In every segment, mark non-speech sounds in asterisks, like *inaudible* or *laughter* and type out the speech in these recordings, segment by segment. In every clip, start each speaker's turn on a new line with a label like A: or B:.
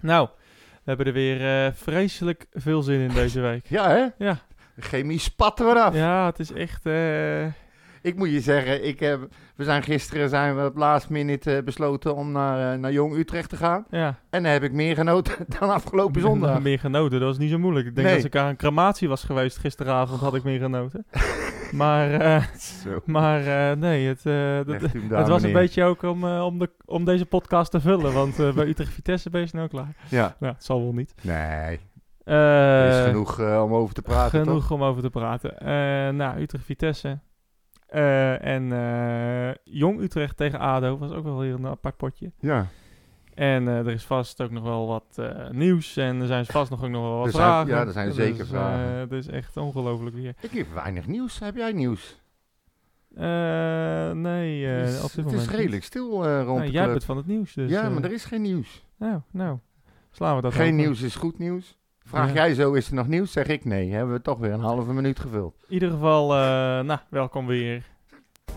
A: Nou, we hebben er weer eh, vreselijk veel zin in deze week.
B: Ja, hè?
A: Ja.
B: De chemie spat er weer *laughs* af.
A: Ja, het is echt... eh,
B: Ik moet je zeggen, ik heb, we zijn gisteren zijn we op last minute eh, besloten om naar, eh, naar Jong Utrecht te gaan.
A: ja.
B: En daar heb ik meer genoten *laughs* dan afgelopen zondag.
A: *laughs* Meer genoten, dat was niet zo moeilijk. Ik denk
B: Nee.
A: dat als ik aan een crematie was geweest gisteravond, had ik meer
B: *laughs*
A: genoten. maar eh,
B: Zo.
A: maar eh, nee, het, eh, dat,
B: Legt u hem daar,
A: *laughs* het was een
B: meneer.
A: beetje ook om, eh, om, de, om deze podcast te vullen. Want eh, bij Utrecht-Vitesse ben je snel klaar.
B: Ja.
A: Nou, het zal wel niet.
B: Nee,
A: Eh,
B: er is genoeg eh, om over te praten,
A: Genoeg
B: toch?
A: om over te praten. Eh, nou, Utrecht-Vitesse. Eh, en eh, Jong Utrecht tegen ADO was ook wel weer een apart potje.
B: Ja.
A: En eh, er is vast ook nog wel wat eh, nieuws. En er zijn vast nog ook nog wel wat
B: Er zijn-
A: vragen.
B: ja, er zijn zeker
A: eh,
B: vragen.
A: Het is echt ongelooflijk weer.
B: Ik heb weinig nieuws. Heb jij nieuws?
A: Eh, nee, eh,
B: het is,
A: op dit
B: het
A: moment
B: is
A: niet.
B: redelijk stil eh, rond
A: Nou,
B: de
A: jij
B: club.
A: bent van het nieuws. Dus,
B: ja,
A: eh,
B: maar er is geen nieuws.
A: Nou, nou. Slaan we dat
B: Geen
A: over.
B: nieuws is goed nieuws. Vraag
A: Ja.
B: jij zo, is er nog nieuws? Zeg ik nee. Hebben we toch weer een halve minuut gevuld.
A: In ieder geval, eh, nou, welkom weer.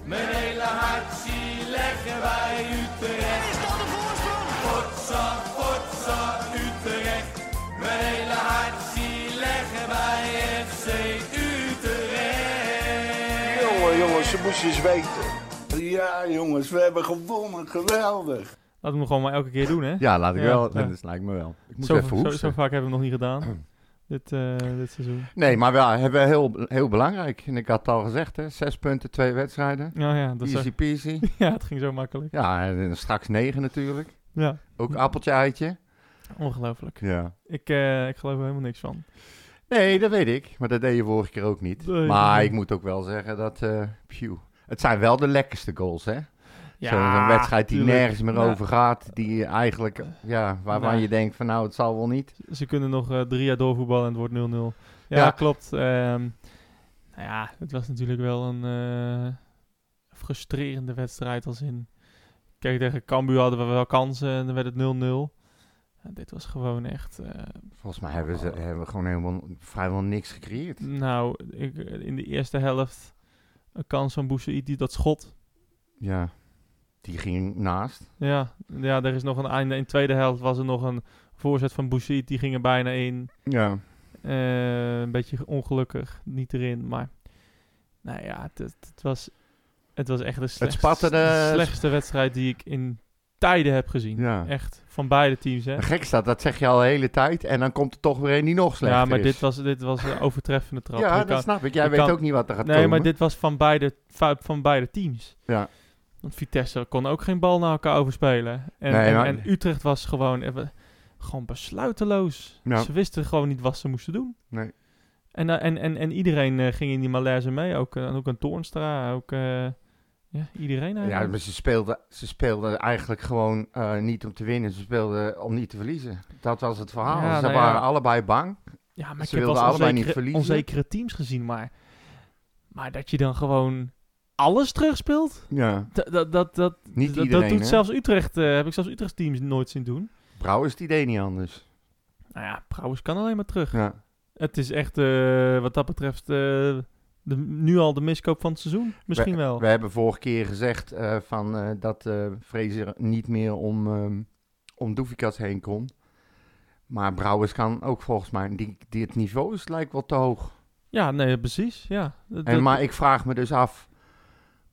C: Mijn hele hart zie leggen wij Utrecht. Is dat de voorsprong? Potsa, potsa, Utrecht. Mijn hele hart zie leggen wij FC Utrecht.
D: Jongen, jongens, ze moest je eens weten. Ja, jongens, we hebben gewonnen. Geweldig.
A: Laten we hem gewoon maar elke keer doen, hè?
B: Ja, laat ik
A: Ja,
B: wel.
A: ja.
B: Dat lijkt me wel. Ik moet
A: zo,
B: even
A: zo,
B: hoesten.
A: zo vaak hebben we hem nog niet
B: *clears throat*
A: gedaan. dit, eh, dit seizoen.
B: Nee, maar wel hebben heel, heel belangrijk. En ik had het al gezegd, hè. Zes punten, twee wedstrijden.
A: Ja, Oh ja, dat is
B: Easy
A: *laughs*
B: peasy.
A: ja, het ging zo makkelijk.
B: ja, en eh, straks negen natuurlijk.
A: Ja,
B: Ook appeltje eitje.
A: ongelooflijk.
B: Ja.
A: Ik, eh, ik geloof er helemaal niks van.
B: Nee, dat weet ik. Maar dat deed je vorige keer ook niet.
A: Nee,
B: maar
A: nee.
B: ik moet ook wel zeggen dat... eh, phew. Het zijn wel de lekkerste goals, hè?
A: Ja,
B: Zo'n zo'n wedstrijd die
A: tuurlijk.
B: nergens meer
A: Ja,
B: over gaat. Die je eigenlijk, ja, waarvan
A: Nee.
B: je denkt van nou, het zal wel niet.
A: Ze kunnen nog eh, drie jaar doorvoetballen en het wordt 0-0. Ja,
B: Ja.
A: klopt. Ehm, nou ja, het was natuurlijk wel een eh, frustrerende wedstrijd als in... Kijk, tegen Cambuur hadden we wel kansen en dan werd het 0-0. En dit was gewoon echt... eh,
B: Volgens mij hebben, ze, hebben we gewoon helemaal, vrijwel niks gecreëerd.
A: nou, ik, in de eerste helft een kans van Boussaïd die dat schot
B: Ja. Die ging naast.
A: Ja, ja, er is nog een einde. In de tweede helft was er nog een voorzet van Boussiet. Die ging er bijna in.
B: Ja.
A: Eh, een beetje ongelukkig. Niet erin, maar... Nou ja, het, het, het was, het was echt de slechtste,
B: spatte de-
A: slechtste wedstrijd die ik in tijden heb gezien.
B: Ja.
A: Echt, van beide teams, hè.
B: Maar Gek staat, dat zeg je al de hele tijd. En dan komt er toch weer een die nog slechter
A: Ja, maar
B: is.
A: dit was, dit was een overtreffende trap. Je
B: Ja, dat
A: kan-
B: snap ik. Jij
A: je
B: weet
A: kan-
B: ook niet wat er gaat
A: nee,
B: komen.
A: maar dit was van beide, va- van beide teams.
B: Ja.
A: Want Vitesse kon ook geen bal naar elkaar overspelen. En,
B: Nee,
A: en,
B: maar-
A: en Utrecht was gewoon, even- gewoon besluiteloos.
B: Ja.
A: Ze wisten gewoon niet wat ze moesten doen.
B: Nee.
A: En, eh, en, en, en iedereen eh, ging in die malaise mee. Ook, eh, ook een Toornstra, ook eh, ja, iedereen
B: Ja,
A: eigenlijk.
B: maar ze speelden ze speelden eigenlijk gewoon eh, niet om te winnen. Ze speelden om niet te verliezen. Dat was het verhaal.
A: Ja,
B: ze
A: nou ja.
B: waren allebei bang.
A: Ja, maar
B: Ze
A: ik heb wel eens
B: wilden allebei
A: onzekere,
B: niet verliezen.
A: onzekere teams gezien. Maar, maar dat je dan gewoon alles terugspeelt,
B: Ja.
A: dat, dat, dat, dat,
B: Niet
A: dat,
B: iedereen,
A: doet
B: hè?
A: zelfs Utrecht, eh, heb ik zelfs Utrecht teams nooit zien doen.
B: Brouwers het idee niet anders.
A: Nou ja, Brouwers kan alleen maar terug.
B: Ja.
A: Het is echt, eh, wat dat betreft, eh, de, nu al de miskoop van het seizoen. Misschien wel.
B: We hebben vorige keer gezegd eh, van, eh, dat eh Fraser niet meer om, ehm om Doefikas heen kon. Maar Brouwers kan ook volgens mij... Die, die, het niveau is lijkt wel te hoog.
A: Ja, nee, precies. Ja. Dat-
B: En, maar ik vraag me dus af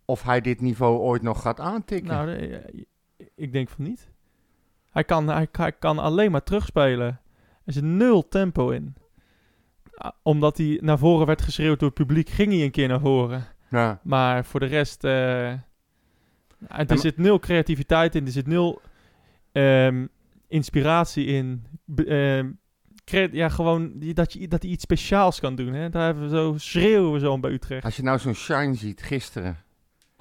B: of hij dit niveau ooit nog gaat aantikken.
A: nou, de- ik denk van niet. Hij kan, hij, hij kan alleen maar terugspelen. Er zit nul tempo in. Ah, Omdat hij naar voren werd geschreeuwd door het publiek, ging hij een keer naar voren.
B: ja.
A: Maar voor de rest. eh, er
B: maar-
A: zit nul creativiteit in, er zit nul ehm, inspiratie in. B- ehm, crea- ja, gewoon die- dat, je, dat hij iets speciaals kan doen. Hè? Daar hebben we zo, schreeuwen we zo om bij Utrecht.
B: Als je nou zo'n shine ziet gisteren,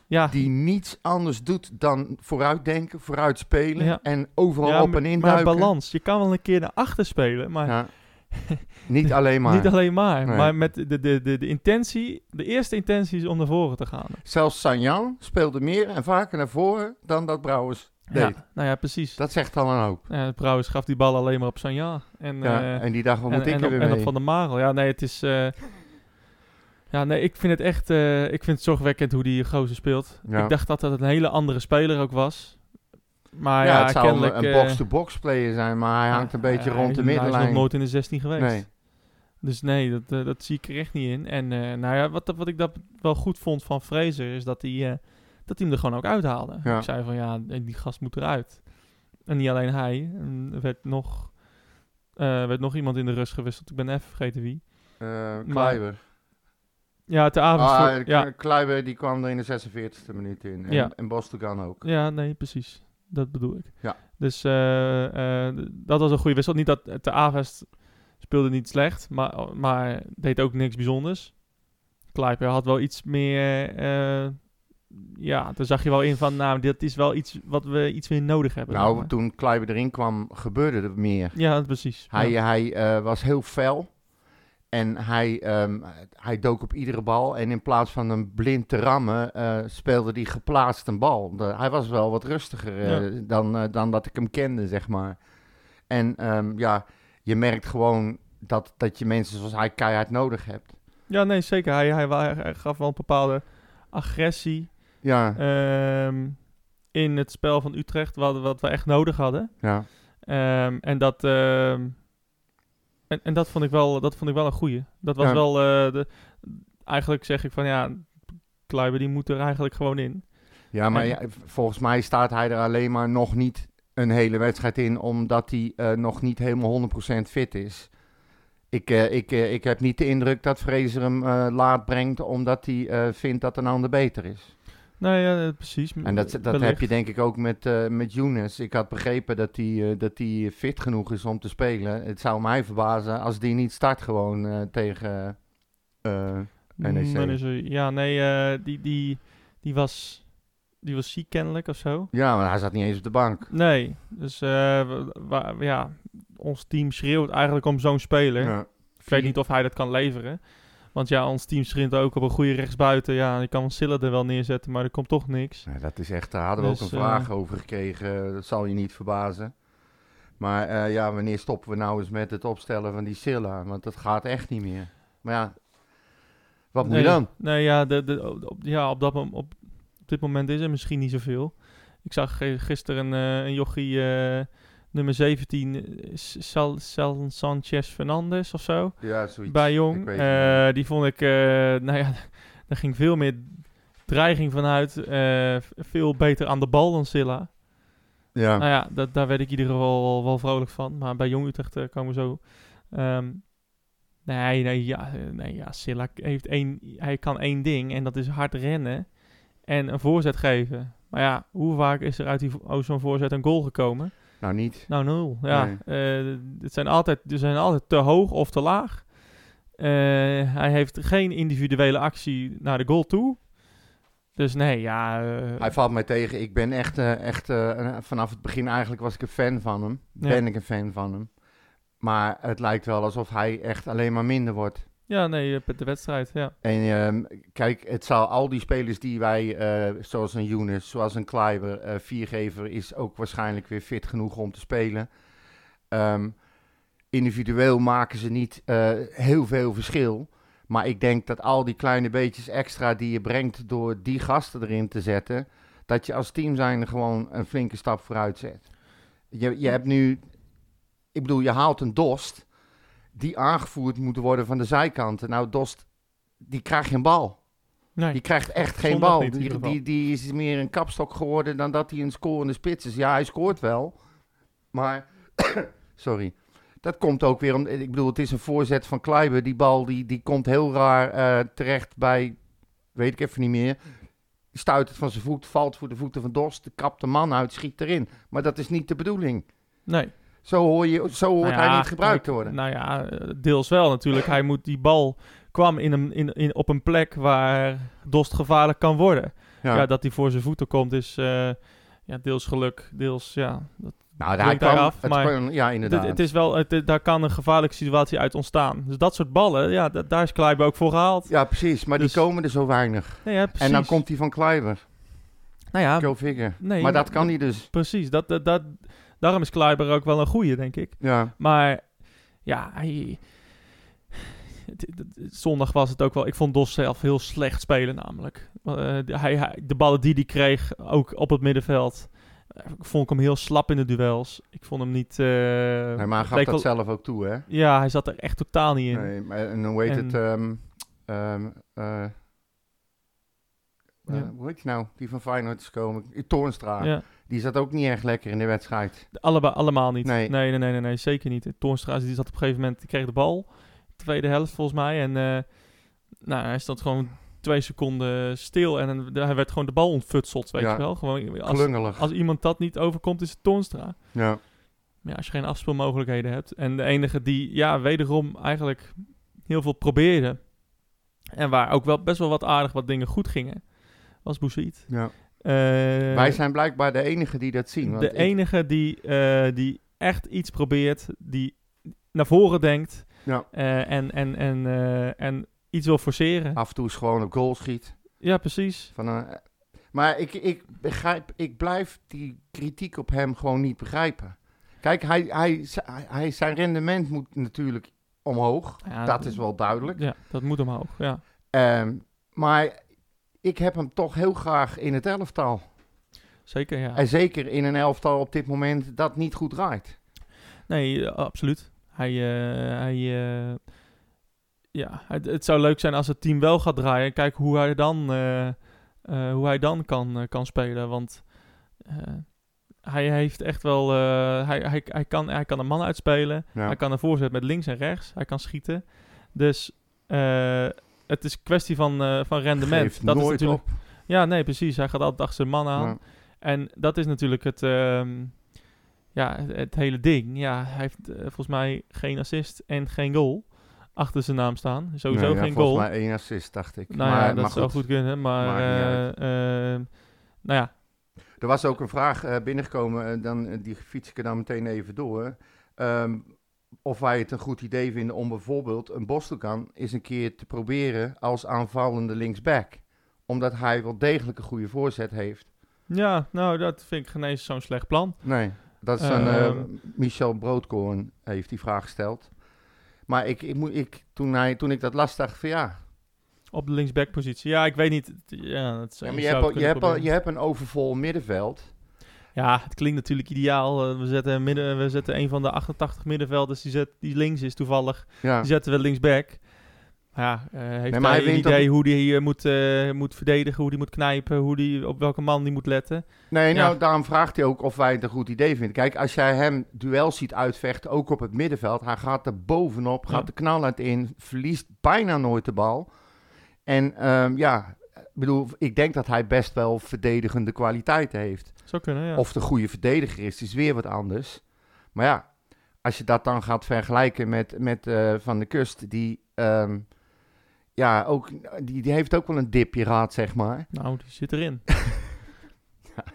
A: Ja,
B: die niets anders doet dan vooruitdenken, vooruitspelen
A: Ja.
B: en overal
A: ja
B: op en in
A: maar
B: duiken.
A: balans. Je kan wel een keer naar achter spelen, maar
B: Ja. Niet alleen maar.
A: *laughs* niet alleen maar.
B: Nee.
A: Maar met de, de, de, de intentie, de eerste intentie is om naar voren te gaan.
B: Zelfs Sanjan speelde meer en vaker naar voren dan dat Brouwers deed.
A: Ja, nou ja, precies.
B: Dat zegt al een hoop.
A: Ja, Brouwers gaf die bal alleen maar op Sanja. En,
B: Ja,
A: eh,
B: en die dacht, wat
A: en,
B: moet ik
A: en
B: er
A: op-
B: weer
A: en op
B: mee?
A: Van der Marel. Ja, nee, het is... eh, ja, nee, ik vind het echt... eh, ik vind het zorgwekkend hoe die gozer speelt.
B: Ja.
A: Ik dacht dat dat een hele andere speler ook was. Maar
B: ja,
A: ja,
B: het zou een-
A: kennelijk...
B: een
A: eh,
B: box-to-box player zijn, maar hij hangt een
A: ja, eh,
B: beetje
A: hij-
B: rond de
A: Hij is nog
B: middenlijn.
A: nooit in de 16 geweest.
B: nee.
A: Dus nee, dat, eh, dat zie ik er echt niet in. En eh, nou ja, wat, wat ik dat wel goed vond van Fraser is dat hij, eh, dat hij hem er gewoon ook uithaalde.
B: Ja.
A: Ik zei van ja, die gast moet eruit. En niet alleen hij. Er werd nog, eh, werd nog iemand in de rust gewisseld. Ik ben even vergeten wie.
B: Eh,
A: Maar-
B: Kluiber.
A: Ja, te avond.
B: Ah,
A: voor-
B: K-
A: ja.
B: Kluiber die kwam er in de 46e minuut in. En,
A: Ja.
B: en Bostogan ook.
A: ja, nee, precies. Dat bedoel ik.
B: Ja.
A: Dus eh, eh, d- dat was een goede wissel. Niet dat eh, Te Avest speelde niet slecht, maar, oh, maar deed ook niks bijzonders. Kleiper had wel iets meer. eh, ja, daar zag je wel in van, nou, dit is wel iets wat we iets meer nodig hebben. zeg
B: Nou,
A: maar.
B: toen Kluiber erin kwam, gebeurde er meer.
A: ja, precies.
B: Hij,
A: ja.
B: hij eh, was heel fel. En hij, ehm, hij dook op iedere bal. En in plaats van hem blind te rammen, eh, speelde hij geplaatst een bal. De- hij was wel wat rustiger eh, dan, eh, dan dat ik hem kende, zeg maar. En ehm, ja, je merkt gewoon dat, dat je mensen zoals hij keihard nodig hebt.
A: ja, nee, zeker. Hij, hij, wa- hij gaf wel een bepaalde agressie
B: Ja,
A: ehm, in het spel van Utrecht, wat, wat we echt nodig hadden.
B: ja.
A: Ehm, en dat. ehm, en, en dat vond ik wel, dat vond ik wel een goeie. Dat was
B: Ja.
A: wel. eh, de, eigenlijk zeg ik van ja. Kluiber die moet er eigenlijk gewoon in.
B: ja maar
A: En-
B: ja, volgens mij staat hij er alleen maar nog niet een hele wedstrijd in, omdat hij eh, nog niet helemaal 100% fit is. Ik, eh, ik, eh, ik heb niet de indruk dat Fraser hem eh, laat brengt, omdat hij eh, vindt dat een ander beter is.
A: Nou ja, eh, precies.
B: En dat, dat heb
A: Wellicht.
B: je denk ik ook met, eh met Younes. Ik had begrepen dat hij eh, dat hij fit genoeg is om te spelen. Het zou mij verbazen als die niet start gewoon eh, tegen... eh, NEC.
A: Mm, NEC. Ja, nee, eh, die, die, die, was, die was ziek kennelijk of zo.
B: ja, maar hij zat niet eens op de bank.
A: Nee, dus eh, we- wa- ja, ons team schreeuwt eigenlijk om zo'n speler.
B: Ja.
A: Ik weet niet of hij dat kan leveren. Want ja, ons team schreeuwt ook op een goede rechtsbuiten. Ja, ik kan Silla er wel neerzetten, maar er komt toch niks.
B: Nou, dat is echt, daar hadden we ook
A: Dus,
B: een vraag over gekregen. Dat zal je niet verbazen. Maar eh, ja, wanneer stoppen we nou eens met het opstellen van die Silla? Want dat gaat echt niet meer. Maar ja, wat moet
A: nee,
B: je dan?
A: Nee, ja, de, de, op, op- ja op, dat, mom- op, op dit moment is er misschien niet zoveel. Ik zag ge- gisteren eh, een jochie eh, nummer 17, eh, S- Sal, Sal Sanchez Fernandez of zo,
B: Ja, zoiets.
A: bij
B: ik
A: Jong.
B: weet
A: Eh,
B: het
A: die vond ik, eh, nou ja, *laughs* daar ging veel meer dreiging vanuit. eh, v- veel beter aan de bal dan Silla.
B: ja.
A: Nou ja, dat, daar werd ik in ieder geval wel, wel vrolijk van. Maar bij Jong Utrecht eh, komen we zo. Ehm, nee, nee, ja, eh, nee, ja Silla k- heeft één, hij kan één ding en dat is hard rennen en een voorzet geven. Maar ja, hoe vaak is er uit die vo- oh, zo'n voorzet een goal gekomen?
B: Nou, niet.
A: Nou, nul. Ja,
B: Nee.
A: eh, het zijn altijd, ze zijn altijd te hoog of te laag. Eh, hij heeft geen individuele actie naar de goal toe. Dus nee, ja. eh,
B: Hij valt mij tegen. Ik ben echt, eh, echt eh, een- vanaf het begin eigenlijk was ik een fan van hem.
A: Ja.
B: Ben ik een fan van hem. Maar het lijkt wel alsof hij echt alleen maar minder wordt.
A: ja, nee, eh, de wedstrijd, ja.
B: En ehm, kijk, het zal al die spelers die wij, eh, zoals een Younes, zoals een Kleiber, eh, Viergever is ook waarschijnlijk weer fit genoeg om te spelen. Ehm, individueel maken ze niet eh, heel veel verschil. Maar ik denk dat al die kleine beetjes extra die je brengt door die gasten erin te zetten, dat je als team zijn gewoon een flinke stap vooruit zet. Je, je hebt nu, ik bedoel, je haalt een Dost die aangevoerd moet worden van de zijkanten. Nou, Dost die krijgt geen bal.
A: Nee.
B: Die krijgt echt geen
A: Zondag
B: bal.
A: niet in ieder
B: Die,
A: geval.
B: die, die is meer een kapstok geworden dan dat hij een scorende spits is. Ja, hij scoort wel. Maar, *coughs* sorry. Dat komt ook weer om. Ik bedoel, het is een voorzet van Kleiber. Die bal die, die komt heel raar eh, terecht bij. Weet ik even niet meer. Stuit het van zijn voet, valt voor de voeten van Dost. Kapt de man uit, schiet erin. Maar dat is niet de bedoeling.
A: Nee.
B: Zo, hoor je, zo hoort
A: Nou ja,
B: hij niet gebruikt te
A: kijk,
B: worden.
A: Nou ja, eh, deels wel natuurlijk. Hij moet die bal kwam in een, in, in, op een plek waar Dost gevaarlijk kan worden. Ja, dat hij voor zijn voeten komt is eh, ja, deels geluk, deels ja. Dat,
B: nou,
A: brengt daaraf,
B: het
A: maar-
B: kwam- ja, inderdaad.
A: het, het is wel, het, daar kan een gevaarlijke situatie uit ontstaan. Dus dat soort ballen, ja, da- daar is Kleiber ook voor gehaald.
B: Ja, precies. Maar
A: Dus-
B: die komen er zo weinig.
A: Nee, ja, precies.
B: En dan komt die van Kleiber.
A: nou ja,
B: Go figure.
A: nee,
B: maar dat kan niet dus.
A: precies. Dat, dat, dat, daarom is Kleiber ook wel een goeie, denk ik.
B: Ja.
A: Maar ja, hij- het- het- het- zondag was het ook wel. Ik vond Dos zelf heel slecht spelen namelijk. Eh, hij, hij- de ballen die hij kreeg, ook op het middenveld. Eh, Ik vond hem heel slap in de duels. Ik vond hem niet... eh,
B: Nee, maar hij gaf
A: leek
B: dat
A: wel-
B: zelf ook toe, hè?
A: Ja, hij zat er echt totaal niet in.
B: Nee, maar, en hoe heet
A: En-
B: het? ehm, ehm, eh, eh,
A: Ja.
B: hoe heet die nou? Die van Feyenoord is komen. Toornstra.
A: Ja,
B: Die zat ook niet erg lekker in de wedstrijd.
A: de- allebei, allemaal niet.
B: Nee.
A: Nee. Nee, nee, nee, nee, zeker niet. Toornstra die zat op een gegeven moment, die kreeg de bal. Tweede helft volgens mij. En eh, nou, hij stond gewoon twee seconden stil. En dan- hij werd gewoon de bal ontfutseld, weet
B: Ja.
A: je wel. Gewoon, eh, als,
B: Klungelig.
A: als iemand dat niet overkomt, is het Toornstra.
B: Ja.
A: Maar ja, als je geen afspeelmogelijkheden hebt. En de enige die, ja, wederom eigenlijk heel veel probeerde. En waar ook wel best wel wat aardig wat dingen goed gingen. Was Boussaïd.
B: Ja.
A: Eh,
B: Wij zijn blijkbaar de enige die dat zien. Want
A: de
B: ik-
A: enige die, eh, die echt iets probeert. Die naar voren denkt.
B: Ja.
A: eh, en, en, en, eh, en iets wil forceren.
B: af en toe is gewoon op goal schiet.
A: Ja, precies.
B: Van, eh, maar ik, ik, begrijp, ik blijf die kritiek op hem gewoon niet begrijpen. Kijk, hij, hij, z- hij- hij, zijn rendement moet natuurlijk omhoog.
A: Ja,
B: Dat is wel duidelijk.
A: Ja, dat moet omhoog. Ja.
B: Ehm, maar ik heb hem toch heel graag in het elftal.
A: Zeker, ja.
B: En zeker in een elftal op dit moment dat niet goed draait.
A: Nee, eh, absoluut. Hij, eh, hij, eh, ja, het, het zou leuk zijn als het team wel gaat draaien. En Kijk hoe hij dan, eh, eh, hoe hij dan kan, eh, kan spelen. Want eh, hij heeft echt wel. eh, hij, hij, hij, kan, hij kan een man uitspelen. Hij kan een voorzet met links en rechts. Hij kan schieten. Dus eh, het is kwestie van, eh, van rendement.
B: Geeft
A: dat
B: nooit
A: is natuurlijk. Ja, nee, precies. Hij gaat altijd achter zijn man aan.
B: Ja.
A: En dat is natuurlijk het, ehm, ja, het, het hele ding. Ja, hij heeft eh, volgens mij geen assist en geen goal achter zijn naam staan. Sowieso
B: Nee, ja,
A: geen goal.
B: volgens mij één assist, dacht ik.
A: nou
B: maar,
A: ja, dat
B: maar
A: zou goed kunnen. Maar,
B: Maakt niet
A: eh, ehm, nou ja,
B: Er was ook een vraag eh, binnengekomen, eh, dan, eh, die fiets ik er dan meteen even door. Ehm, of wij het een goed idee vinden om bijvoorbeeld een Bostelkan eens een keer te proberen als aanvallende linksback. Omdat hij wel degelijk een goede voorzet heeft.
A: ja, nou dat vind ik geen eens zo'n slecht plan.
B: Nee, dat is een, eh,
A: Ehm.
B: Michel Broodkoorn heeft die vraag gesteld. Maar ik, ik, moet- ik, toen, hij, toen ik dat las, dacht ik van ja.
A: Op de linksbackpositie. Ja, ik weet niet. Ja, dat
B: ja
A: zou,
B: maar je,
A: zou
B: hebt, al-
A: ik
B: je,
A: kunnen
B: hebt, al-
A: proberen.
B: je hebt een overvol middenveld.
A: Ja, het klinkt natuurlijk ideaal. Eh, we, zetten een midden, we zetten een van de 88 middenvelders die, zet, die links is toevallig.
B: Ja.
A: Die zetten we linksback. Ja, eh, heeft
B: maar hij
A: hij een
B: wint op-
A: idee hoe die eh, moet, eh, moet verdedigen, hoe die moet knijpen, hoe die, op welke man die moet letten?
B: Nee, nou,
A: Ja.
B: daarom vraagt hij ook of wij het een goed idee vinden. Kijk, als jij hem duel ziet uitvechten, ook op het middenveld, hij gaat er bovenop, gaat
A: Ja.
B: de knal uit in, verliest bijna nooit de bal. En ehm, ja, ik bedoel, ik denk dat hij best wel verdedigende kwaliteiten heeft.
A: Zou kunnen, ja.
B: Of de goede verdediger is, is weer wat anders. Maar ja, als je dat dan gaat vergelijken met, met eh, Van de Kust, die, ehm, ja, ook, die, die heeft ook wel een dipje raad, zeg maar.
A: Nou, die zit erin.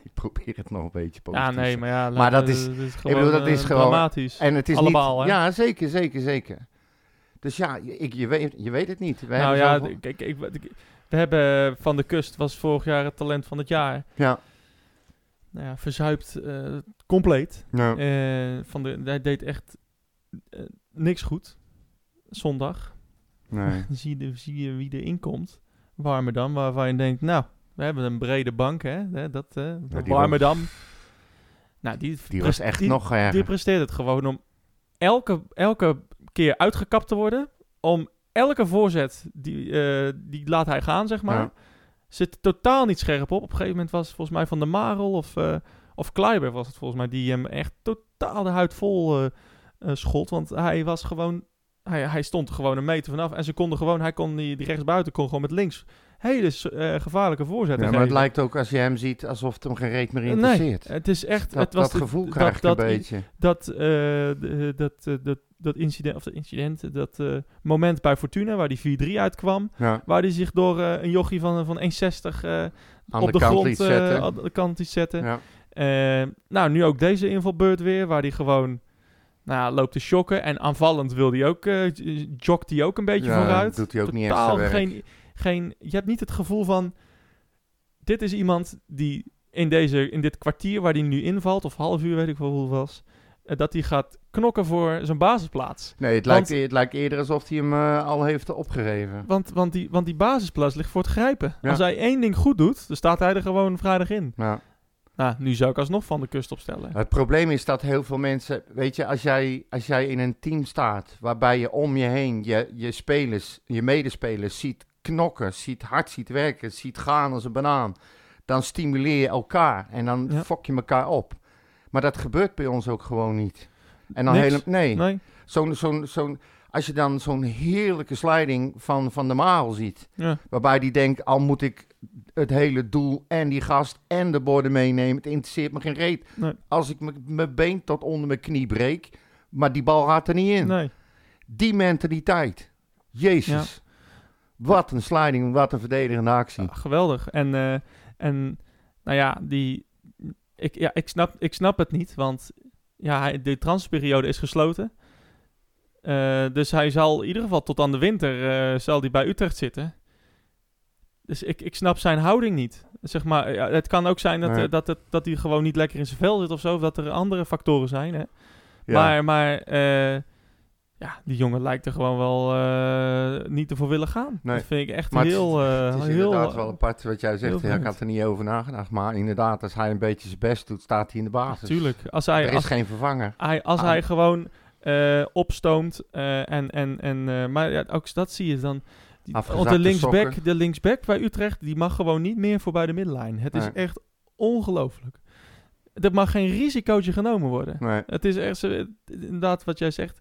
B: ik probeer het nog een beetje positief
A: Ja,
B: te
A: nee, maar ja.
B: dus- Maar
A: laat-
B: dat is-
A: eh,
B: bedoel, dat
A: eh,
B: is gewoon-
A: Dramatisch.
B: En het is
A: Allemaal,
B: niet...
A: hè?
B: Ja, zeker, zeker, zeker. Dus ja, je- ik, je, weet, je weet het niet. We
A: nou
B: hebben
A: ja,
B: zoveel-
A: kijk, ik, ik- we hebben eh, Van de Kust, was vorig jaar het talent van het jaar.
B: ja.
A: Nou ja, verzuipt eh, compleet.
B: Ja.
A: Eh, van de, hij deed echt eh, niks goed. Zondag.
B: Nee.
A: *laughs* zie, je, zie je wie erin komt. Warmerdam, waarvan je denkt, nou, we hebben een brede bank, hè. hè, dat, eh
B: die
A: Warmerdam. Nou, die,
B: Die was
A: pres-
B: echt
A: die-
B: nog eh, erger.
A: Die presteert het gewoon om elke, elke keer uitgekapt te worden. Om elke voorzet, die, eh, die laat hij gaan, zeg maar.
B: Ja.
A: Zit totaal niet scherp op. Op een gegeven moment was het volgens mij Van der Marel of, eh of Kleiber was het volgens mij. Die hem echt totaal de huid vol eh, eh, schot. Want hij was gewoon... Hij, hij stond er gewoon een meter vanaf. En ze konden gewoon... Hij kon die, die rechtsbuiten kon gewoon met links hele eh, gevaarlijke
B: Ja,
A: voorzetten
B: maar het
A: geven.
B: lijkt ook als je hem ziet alsof het hem geen reet meer
A: Nee,
B: interesseert.
A: het is echt...
B: dat,
A: het was
B: dat
A: de-
B: gevoel
A: dat-
B: krijg je
A: dat
B: een
A: i-
B: beetje.
A: dat, eh, de- dat, eh, dat, dat incident, of dat incident, dat eh, moment bij Fortuna waar die 4-3 uitkwam,
B: Ja,
A: waar die zich door eh, een jochie van, van 1,60 eh,
B: aan
A: op
B: de,
A: de,
B: kant
A: grond
B: liet
A: eh,
B: zetten.
A: aan de kant liet zetten.
B: ja.
A: Eh, nou, nu ook deze invalbeurt weer, waar die gewoon nou, ja, loopt te shocken en aanvallend wil die ook, eh, j- jogt hij ook een beetje
B: Ja,
A: vooruit.
B: doet hij ook niet eh,
A: Totaal
B: echt
A: geen, geen, je hebt niet het gevoel van, dit is iemand die in, deze, in dit kwartier waar hij nu invalt, of half uur weet ik wel hoe het was, eh, dat hij gaat knokken voor zijn basisplaats.
B: Nee, het,
A: Want-
B: lijkt, het lijkt eerder alsof hij hem eh, al heeft opgereven.
A: Want, want, die, want die basisplaats ligt voor het grijpen.
B: Ja.
A: Als hij één ding goed doet, dan staat hij er gewoon vrijdag in.
B: Ja.
A: Nou, nu zou ik alsnog Van de Kust opstellen.
B: Het probleem is dat heel veel mensen, weet je, als jij, als jij in een team staat waarbij je om je heen je, je spelers, je medespelers ziet knokken, ziet hard ziet werken, ziet gaan als een banaan, dan stimuleer je elkaar en dan
A: Ja.
B: fok je elkaar op. Maar dat gebeurt bij ons ook gewoon niet. En dan
A: Niks?
B: helemaal, nee.
A: Nee?
B: Zo'n, zo'n, zo'n, als je dan zo'n heerlijke sliding van Van der Marel ziet,
A: Ja.
B: waarbij die denkt, al moet ik het hele doel en die gast en de borden meenemen, het interesseert me geen reet.
A: Nee.
B: Als ik m- mijn been tot onder mijn knie breek, maar die bal gaat er niet in.
A: Nee.
B: Die mentaliteit. Jezus. Wat een sliding, wat een verdedigende actie.
A: Ja, Ah, geweldig. En, eh, en nou ja, die, ik, ja ik, snap, ik snap het niet, want ja, hij- de transperiode is gesloten. Eh, dus hij zal in ieder geval tot aan de winter eh, zal die bij Utrecht zitten. Dus ik, ik snap zijn houding niet. Zeg maar, ja, het kan ook zijn dat,
B: Nee.
A: eh, dat, het, dat hij gewoon niet lekker in zijn vel zit of zo. Of dat er andere factoren zijn. Hè?
B: Ja.
A: Maar, maar eh, ja, die jongen lijkt er gewoon wel eh, niet te voor willen gaan.
B: Nee.
A: Dat vind ik echt
B: Maar het-
A: heel... eh,
B: het is
A: heel,
B: inderdaad wel apart wat jij
A: heel
B: zegt. Ja, ik
A: vreemd.
B: had er niet over nagedacht. Maar inderdaad, als hij een beetje zijn best doet, staat hij in de basis.
A: Natuurlijk. Als hij,
B: Dus Er is
A: als
B: geen vervanger.
A: hij, als
B: Ah.
A: hij gewoon eh, opstoomt eh, en... en, en eh, maar ja, ook dat zie je dan. Die, want
B: Afgezakte
A: de linksback,
B: sokken.
A: de linksback bij Utrecht, die mag gewoon niet meer voorbij de middenlijn. Het is
B: Nee.
A: echt ongelooflijk. Er mag geen risicootje genomen worden.
B: Nee.
A: Het is echt, ze, inderdaad wat jij zegt.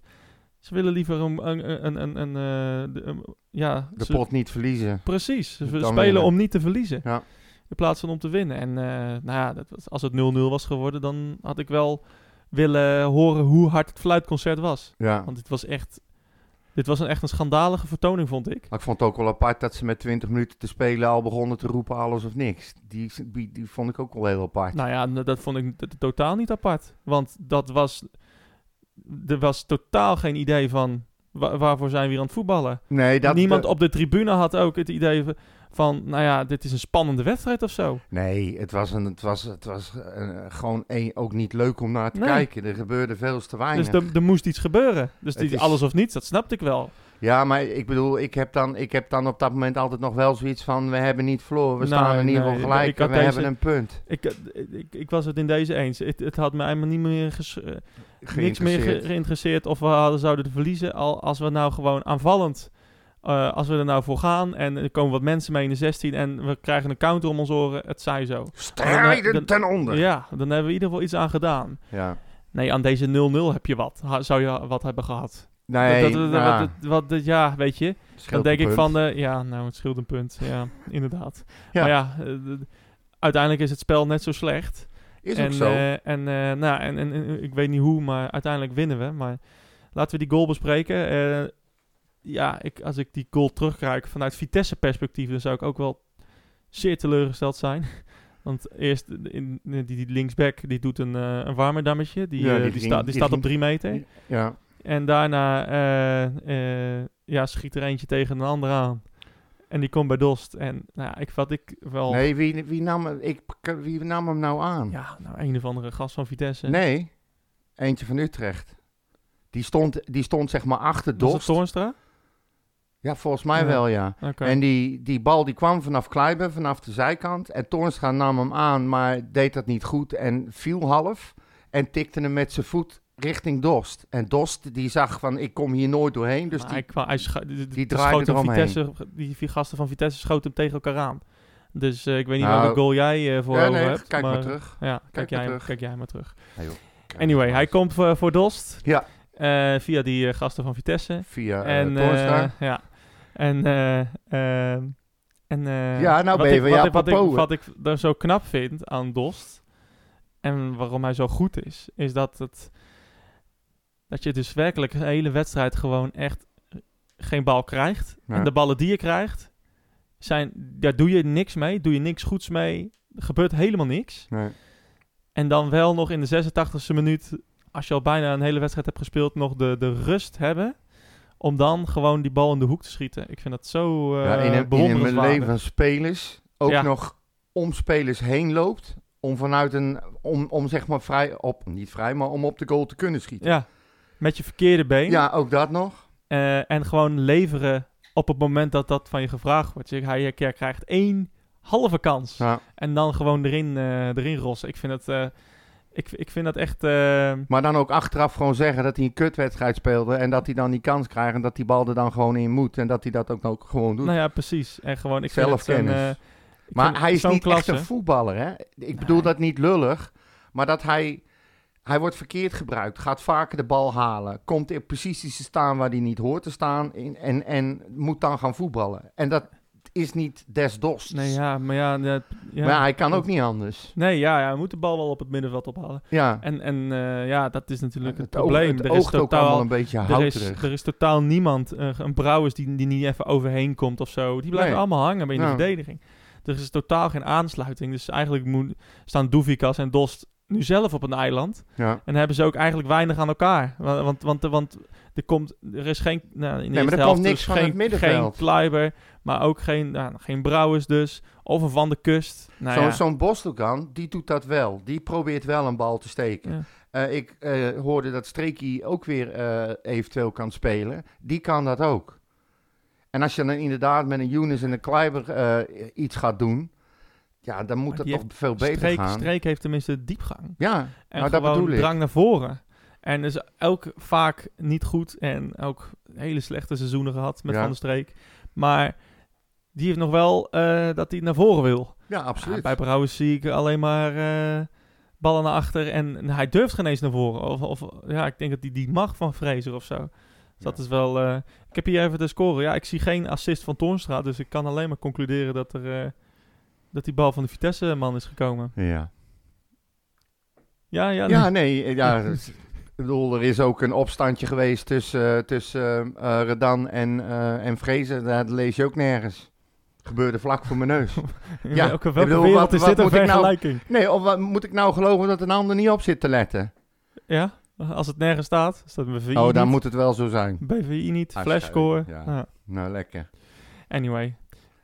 A: Ze willen liever een... een, een, een, een, eh, de- een- ja,
B: De
A: ze-
B: pot niet verliezen.
A: Precies. Ze
B: Dan
A: spelen
B: winnen.
A: om niet te verliezen.
B: Ja.
A: In plaats van om te winnen. En eh, nou ja, dat, was- als het 0-0 was geworden, dan had ik wel willen horen hoe hard het fluitconcert was.
B: Ja.
A: Want dit was echt. Dit was een, echt een schandalige vertoning, vond ik.
B: Maar ik vond het ook wel apart dat ze met 20 minuten te spelen al begonnen te roepen alles of niks. Die, die, die vond ik ook wel heel apart.
A: Nou ja, n- dat vond ik t- totaal niet apart. Want dat was. Er was totaal geen idee van. wa- waarvoor zijn we hier aan het voetballen?
B: nee, dat,
A: Niemand
B: dat-
A: op de tribune had ook het idee van- van. Nou ja, dit is een spannende wedstrijd of zo.
B: nee, het was, een, het was, het was eh, gewoon één, ook niet leuk om naar te
A: Nee.
B: kijken. Er gebeurde veel te weinig.
A: Dus er, er moest iets gebeuren. Dus
B: Het
A: die,
B: is-
A: alles of niets, dat snapte ik wel.
B: Ja, maar ik bedoel, ik heb, dan, ik heb dan op dat moment altijd nog wel zoiets van... we hebben niet verloren, we
A: Nou,
B: staan in ieder
A: nee,
B: geval
A: ik-
B: gelijk
A: ik had
B: en we
A: deze-
B: hebben een punt.
A: Ik, eh, ik, ik was het in deze eens. Het, het had me helemaal niet meer ges- eh, niks meer ge-
B: Geïnteresseerd.
A: geïnteresseerd of we hadden, zouden verliezen. Al, als we nou gewoon aanvallend, eh, als we er nou voor gaan en er komen wat mensen mee in de 16 en we krijgen een counter om ons oren, het zij zo.
B: Strijden
A: Dan-
B: ten onder. Ja.
A: Ja, dan hebben we in ieder geval iets aan gedaan. Nee, aan deze 0-0 heb je wat. Ha- zou je wat hebben gehad?
B: Nee,
A: Dat, dat- dat-
B: ja,
A: wat- dat- wat, dat- ja, weet je. Dan
B: scheelt
A: denk
B: een
A: ik
B: punt.
A: van, eh, ja, nou, het scheelt een punt. Ja, *laughs* inderdaad.
B: Ja.
A: Maar ja, eh, d- uiteindelijk is het spel net zo slecht
B: Is
A: en,
B: ook zo.
A: eh, en, eh, nou, en, en, en ik weet niet hoe, maar uiteindelijk winnen we. Maar laten we die goal bespreken. Eh, ja, ik, als ik die goal terugkijk vanuit Vitesse-perspectief, dan zou ik ook wel zeer teleurgesteld zijn. *laughs* Want eerst eh, in, in- die, die linksback, die doet een, eh een warme dammetje. Die,
B: Ja,
A: eh,
B: die
A: die,
B: ging-
A: staat-
B: die
A: die staat
B: ging-
A: op drie meter.
B: ja.
A: En daarna eh, eh, ja, schiet er eentje tegen een ander aan. En die komt bij Dost. En nou, ja, ik, wat ik wel...
B: Nee, wie, wie, nam, hem- ik, wie nam hem nou aan?
A: Ja, nou, een of andere gast van Vitesse.
B: Nee, eentje van Utrecht. Die stond, die stond zeg maar achter
A: Was het
B: Dost.
A: Toornstra?
B: Ja, volgens mij
A: Ja.
B: wel, ja.
A: Oké.
B: En die, die bal die kwam vanaf Kleiber, vanaf de zijkant. En Toornstra nam hem aan, maar deed dat niet goed en viel half. En tikte hem met zijn voet richting Dost. En Dost die zag van, ik kom hier nooit doorheen. Dus
A: Maar
B: die,
A: hij, kwam, hij scha- die, die
B: draaide
A: schoot hem
B: eromheen.
A: Vitesse, Die vier gasten van Vitesse schoten hem tegen elkaar aan. Dus eh, ik weet niet
B: Nou,
A: welke goal jij eh, voor
B: Ja,
A: ogen
B: nee,
A: hebt.
B: kijk maar terug.
A: Ja, kijk,
B: maar
A: jij,
B: terug.
A: kijk jij maar terug.
B: Ja, joh.
A: Anyway, hij komt voor, voor Dost.
B: Ja.
A: Eh, via die eh, gasten van Vitesse.
B: Via eh,
A: en, eh,
B: Toornstra.
A: ja. En, eh, ehm, en eh,
B: Ja,
A: wat
B: nou ben je
A: ik-
B: van
A: wat,
B: ja,
A: ik, wat, ik,
B: popo.
A: wat ik er zo knap vind aan Dost en waarom hij zo goed is, is dat het dat je dus werkelijk een hele wedstrijd gewoon echt geen bal krijgt.
B: Ja.
A: En de ballen die je krijgt, zijn, daar doe je niks mee, doe je niks goeds mee, er gebeurt helemaal niks.
B: Nee.
A: En dan wel nog in de 86e minuut, als je al bijna een hele wedstrijd hebt gespeeld, nog de, de rust hebben. Om dan gewoon die bal in de hoek te schieten. Ik vind dat zo eh
B: ja, in een, in een
A: bewonderenswaardig.
B: leven van spelers ook
A: Ja.
B: nog om spelers heen loopt. Om vanuit een, om, om zeg maar vrij op, niet vrij, maar om op de goal te kunnen schieten.
A: Ja, met je verkeerde been.
B: Ja, ook dat nog.
A: Eh, en gewoon leveren op het moment dat dat van je gevraagd wordt. Je, hij, je krijgt één halve kans.
B: Ja.
A: En dan gewoon erin, eh, erin rossen. Ik vind dat, eh, ik, ik vind dat echt... eh,
B: Maar dan ook achteraf gewoon zeggen dat hij een kutwedstrijd speelde. En dat hij dan die kans krijgt. En dat die bal er dan gewoon in moet. En dat hij dat ook, ook gewoon doet.
A: nou ja, precies. En gewoon, ik vind het zo'n,
B: Zelfkennis.
A: eh, ik vind
B: maar hij
A: het
B: is
A: zo'n
B: niet
A: klasse.
B: echt een voetballer. Hè? Ik bedoel
A: Nee.
B: dat niet lullig. Maar dat hij. Hij wordt verkeerd gebruikt. Gaat vaker de bal halen. Komt in posities te staan waar hij niet hoort te staan. in- en, en moet dan gaan voetballen. En dat is niet des dos.
A: Nee, ja, maar ja... ja, ja.
B: Maar ja, hij kan ook niet anders.
A: Nee, ja, ja, hij moet de bal wel op het middenveld ophalen.
B: Ja.
A: En, en eh, ja, dat is natuurlijk het,
B: oog-
A: probleem.
B: het
A: er, is
B: oogt ook allemaal
A: totaal,
B: een beetje
A: er, is,
B: houterig.
A: er is totaal niemand, eh, een Brouwers die, die niet even overheen komt of zo. Die blijven
B: Nee.
A: allemaal hangen bij in de
B: Ja.
A: verdediging. Er is totaal geen aansluiting. Dus eigenlijk moet, staan Doevikas en Dost nu zelf op een eiland.
B: Ja.
A: En hebben ze ook eigenlijk weinig aan elkaar. Wa- Want, want, want, er, komt, er is geen... Nou, in de eerste
B: maar er komt
A: helft
B: niks
A: dus
B: van
A: geen,
B: het middenveld.
A: Geen Kleiber, maar ook geen, nou, geen Brouwers dus. Of een Van de Kust. Nou,
B: Zo-
A: ja.
B: Zo'n Bostokan, die doet dat wel. Die probeert wel een bal te steken.
A: Ja.
B: Eh, ik eh, hoorde dat Streekie ook weer eh, eventueel kan spelen. Die kan dat ook. En als je dan inderdaad met een Younes en een Kleiber eh, iets gaat doen... Ja, dan moet
A: Maar
B: dat
A: die
B: toch veel beter
A: streek,
B: gaan.
A: streek heeft tenminste diepgang.
B: Ja,
A: En
B: Nou, dat
A: gewoon
B: bedoel ik.
A: drang naar voren. En dus elk vaak niet goed en ook hele slechte seizoenen gehad met
B: Ja.
A: Van der Streek. Maar die heeft nog wel eh, dat hij naar voren wil.
B: ja,
A: Ja,
B: absoluut.
A: bij Brouwers zie ik alleen maar eh, ballen naar achter en, en hij durft geen eens naar voren. Of, of ja, ik denk dat hij die mag van Fraser of zo. Dus dat
B: Ja.
A: is wel... eh, ik heb hier even de score. Ja, ik zie geen assist van Toornstra, dus ik kan alleen maar concluderen dat er... eh, dat die bal van de Vitesse-man is gekomen.
B: ja.
A: Ja, ja.
B: ja, nee.
A: *laughs*
B: eh, Ja, dat is- ik bedoel, er is ook een opstandje geweest tussen, eh, tussen eh, eh, Redan en, eh en Vrezen. Dat lees je ook nergens. Gebeurde vlak voor mijn
A: *laughs*
B: neus.
A: In
B: Ja,
A: welke,
B: ik
A: welke
B: bedoel,
A: wereld
B: wat-
A: is
B: wat
A: dit een
B: moet ik nou-
A: vergelijking?
B: Nee, of wat, moet ik nou geloven dat een ander niet op zit te letten?
A: Ja, als het nergens staat, staat BVI
B: oh, dan
A: niet,
B: moet het wel zo zijn.
A: BVI niet,
B: Afscheid,
A: flashscore.
B: ja.
A: Ja.
B: Nou, lekker.
A: Anyway.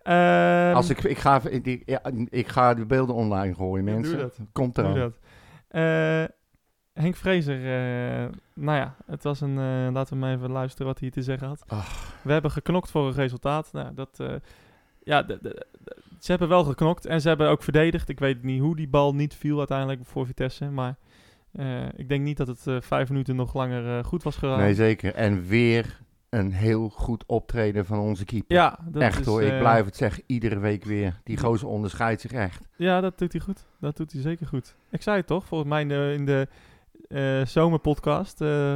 A: Ehm,
B: Als ik, ik, ga, ik, ja, ik ga de beelden online gooien,
A: Ja,
B: mensen.
A: Doe dat,
B: Komt
A: doe
B: er
A: dat. Eh, Henk Vrezer, eh, nou ja, het was een, eh, laten we maar even luisteren wat hij te zeggen had. We hebben geknokt voor een resultaat. Nou, dat, eh, ja, de- de- de- ze hebben wel geknokt en ze hebben ook verdedigd. Ik weet niet hoe die bal niet viel uiteindelijk voor Vitesse, maar eh, ik denk niet dat het eh, vijf minuten nog langer eh, goed was geraakt.
B: Nee, zeker. En weer een heel goed optreden van onze keeper.
A: Ja, dat
B: echt
A: is,
B: hoor, ik
A: eh,
B: blijf het zeggen. Iedere week weer. Die gozer onderscheidt zich echt.
A: Ja, dat doet hij goed. Dat doet hij zeker goed. Ik zei het toch, volgens mij in de, in de eh, zomerpodcast. eh,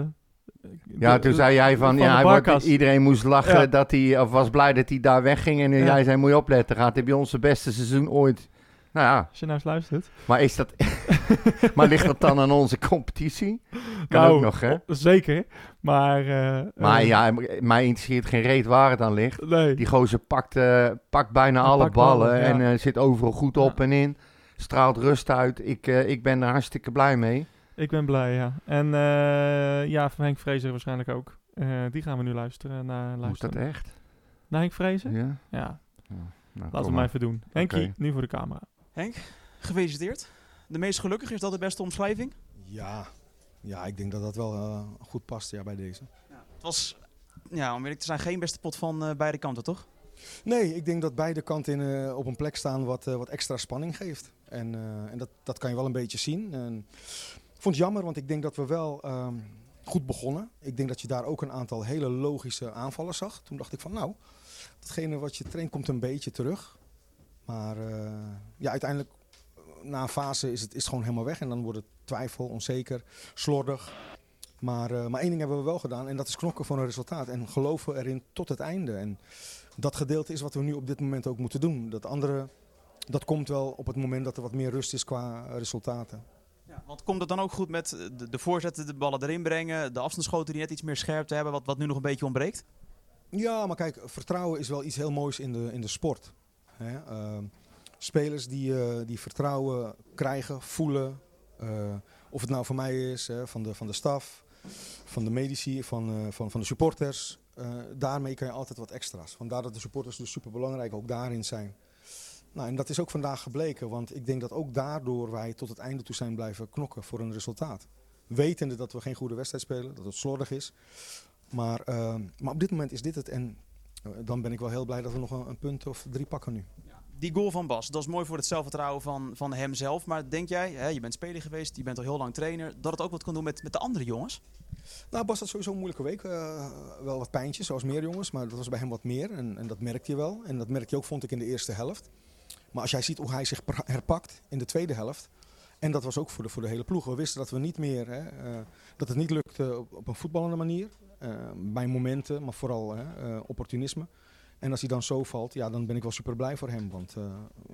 B: Ja,
A: de-
B: toen zei jij
A: van
B: van,
A: de
B: ja, hij wordt-
A: barkas.
B: iedereen moest lachen
A: Ja.
B: dat hij, of was blij dat hij daar wegging. En
A: Ja.
B: jij zei, moet je opletten, gaat hij bij ons het beste seizoen ooit. Nou ja,
A: Als je nou eens luistert.
B: Maar is dat. *laughs* maar ligt dat dan aan onze competitie? Kan
A: Nou,
B: ook nog, hè?
A: oh, Zeker, maar... eh,
B: Maar
A: eh,
B: ja, mij interesseert geen reet waar het aan ligt.
A: Nee,
B: Die gozer pakt, eh, pakt bijna
A: Hij
B: alle
A: pakt
B: ballen
A: ballen, ja.
B: en eh, zit overal goed op
A: Ja.
B: en in. Straalt rust uit. Ik, eh, ik ben er hartstikke blij mee.
A: ik ben blij, ja. En eh, ja, van Henk Vrezer waarschijnlijk ook. Eh, die gaan we nu luisteren. Naar,
B: Hoe is dat
A: luisteren.
B: echt?
A: naar Henk Vrezer? Ja,
B: Ja? Nou,
A: laten
B: kom
A: we maar even doen. Henkie,
B: Oké.
A: nu voor de camera.
E: Gefeliciteerd. De meest gelukkige, is dat de beste omschrijving?
F: Ja, ja ik denk dat dat wel eh, goed past ja, bij deze.
E: Het was, ja, om eerlijk te zijn, geen beste pot van eh, beide kanten, toch?
F: Nee, ik denk dat beide kanten in, eh, op een plek staan wat, eh, wat extra spanning geeft. En, eh, en dat, dat kan je wel een beetje zien. En, ik vond het jammer, want ik denk dat we wel ehm, goed begonnen. Ik denk dat je daar ook een aantal hele logische aanvallen zag. Toen dacht ik van nou, datgene wat je traint komt een beetje terug. Maar eh, ja, uiteindelijk eh, na een fase is het, is het gewoon helemaal weg. En dan wordt het twijfel, onzeker, slordig. Maar, eh, maar één ding hebben we wel gedaan en dat is knokken voor een resultaat. En geloven erin tot het einde. En dat gedeelte is wat we nu op dit moment ook moeten doen. Dat andere, dat komt wel op het moment dat er wat meer rust is qua eh, resultaten.
E: want komt dat dan ook goed met eh, de, de voorzetten, de ballen erin brengen, de afstandsschoten die net iets meer scherp te hebben, wat, wat nu nog een beetje ontbreekt?
F: Ja, maar kijk, vertrouwen is wel iets heel moois in de, in de sport. Hè? ehm, spelers die, eh, die vertrouwen krijgen, voelen. eh, of het nou van mij is, hè, van, de, van de staf, van de medici, van, eh, van, van de supporters. eh, daarmee kan je altijd wat extra's. Vandaar dat de supporters dus superbelangrijk ook daarin zijn. Nou, en dat is ook vandaag gebleken, want ik denk dat ook daardoor wij tot het einde toe zijn blijven knokken voor een resultaat. Wetende dat we geen goede wedstrijd spelen, dat het slordig is. Maar, eh, maar op dit moment is dit het. En eh, dan ben ik wel heel blij dat we nog een, een punt of drie pakken nu.
E: die goal van Bas, dat is mooi voor het zelfvertrouwen van, van hemzelf. Maar denk jij, hè, je bent speler geweest, je bent al heel lang trainer, dat het ook wat kan doen met, met de andere jongens?
F: Nou, Bas had sowieso een moeilijke week. eh, wel wat pijntjes, zoals meer jongens. Maar dat was bij hem wat meer. En, en dat merkte je wel. En dat merkte je ook, vond ik, in de eerste helft. Maar als jij ziet hoe hij zich pra- herpakt in de tweede helft. En dat was ook voor de, voor de hele ploeg. We wisten dat we niet meer, hè, eh, dat het niet lukte op, op een voetballende manier. eh, bij momenten, maar vooral hè, eh, opportunisme. En als hij dan zo valt, ja, dan ben ik wel super blij voor hem. Want eh,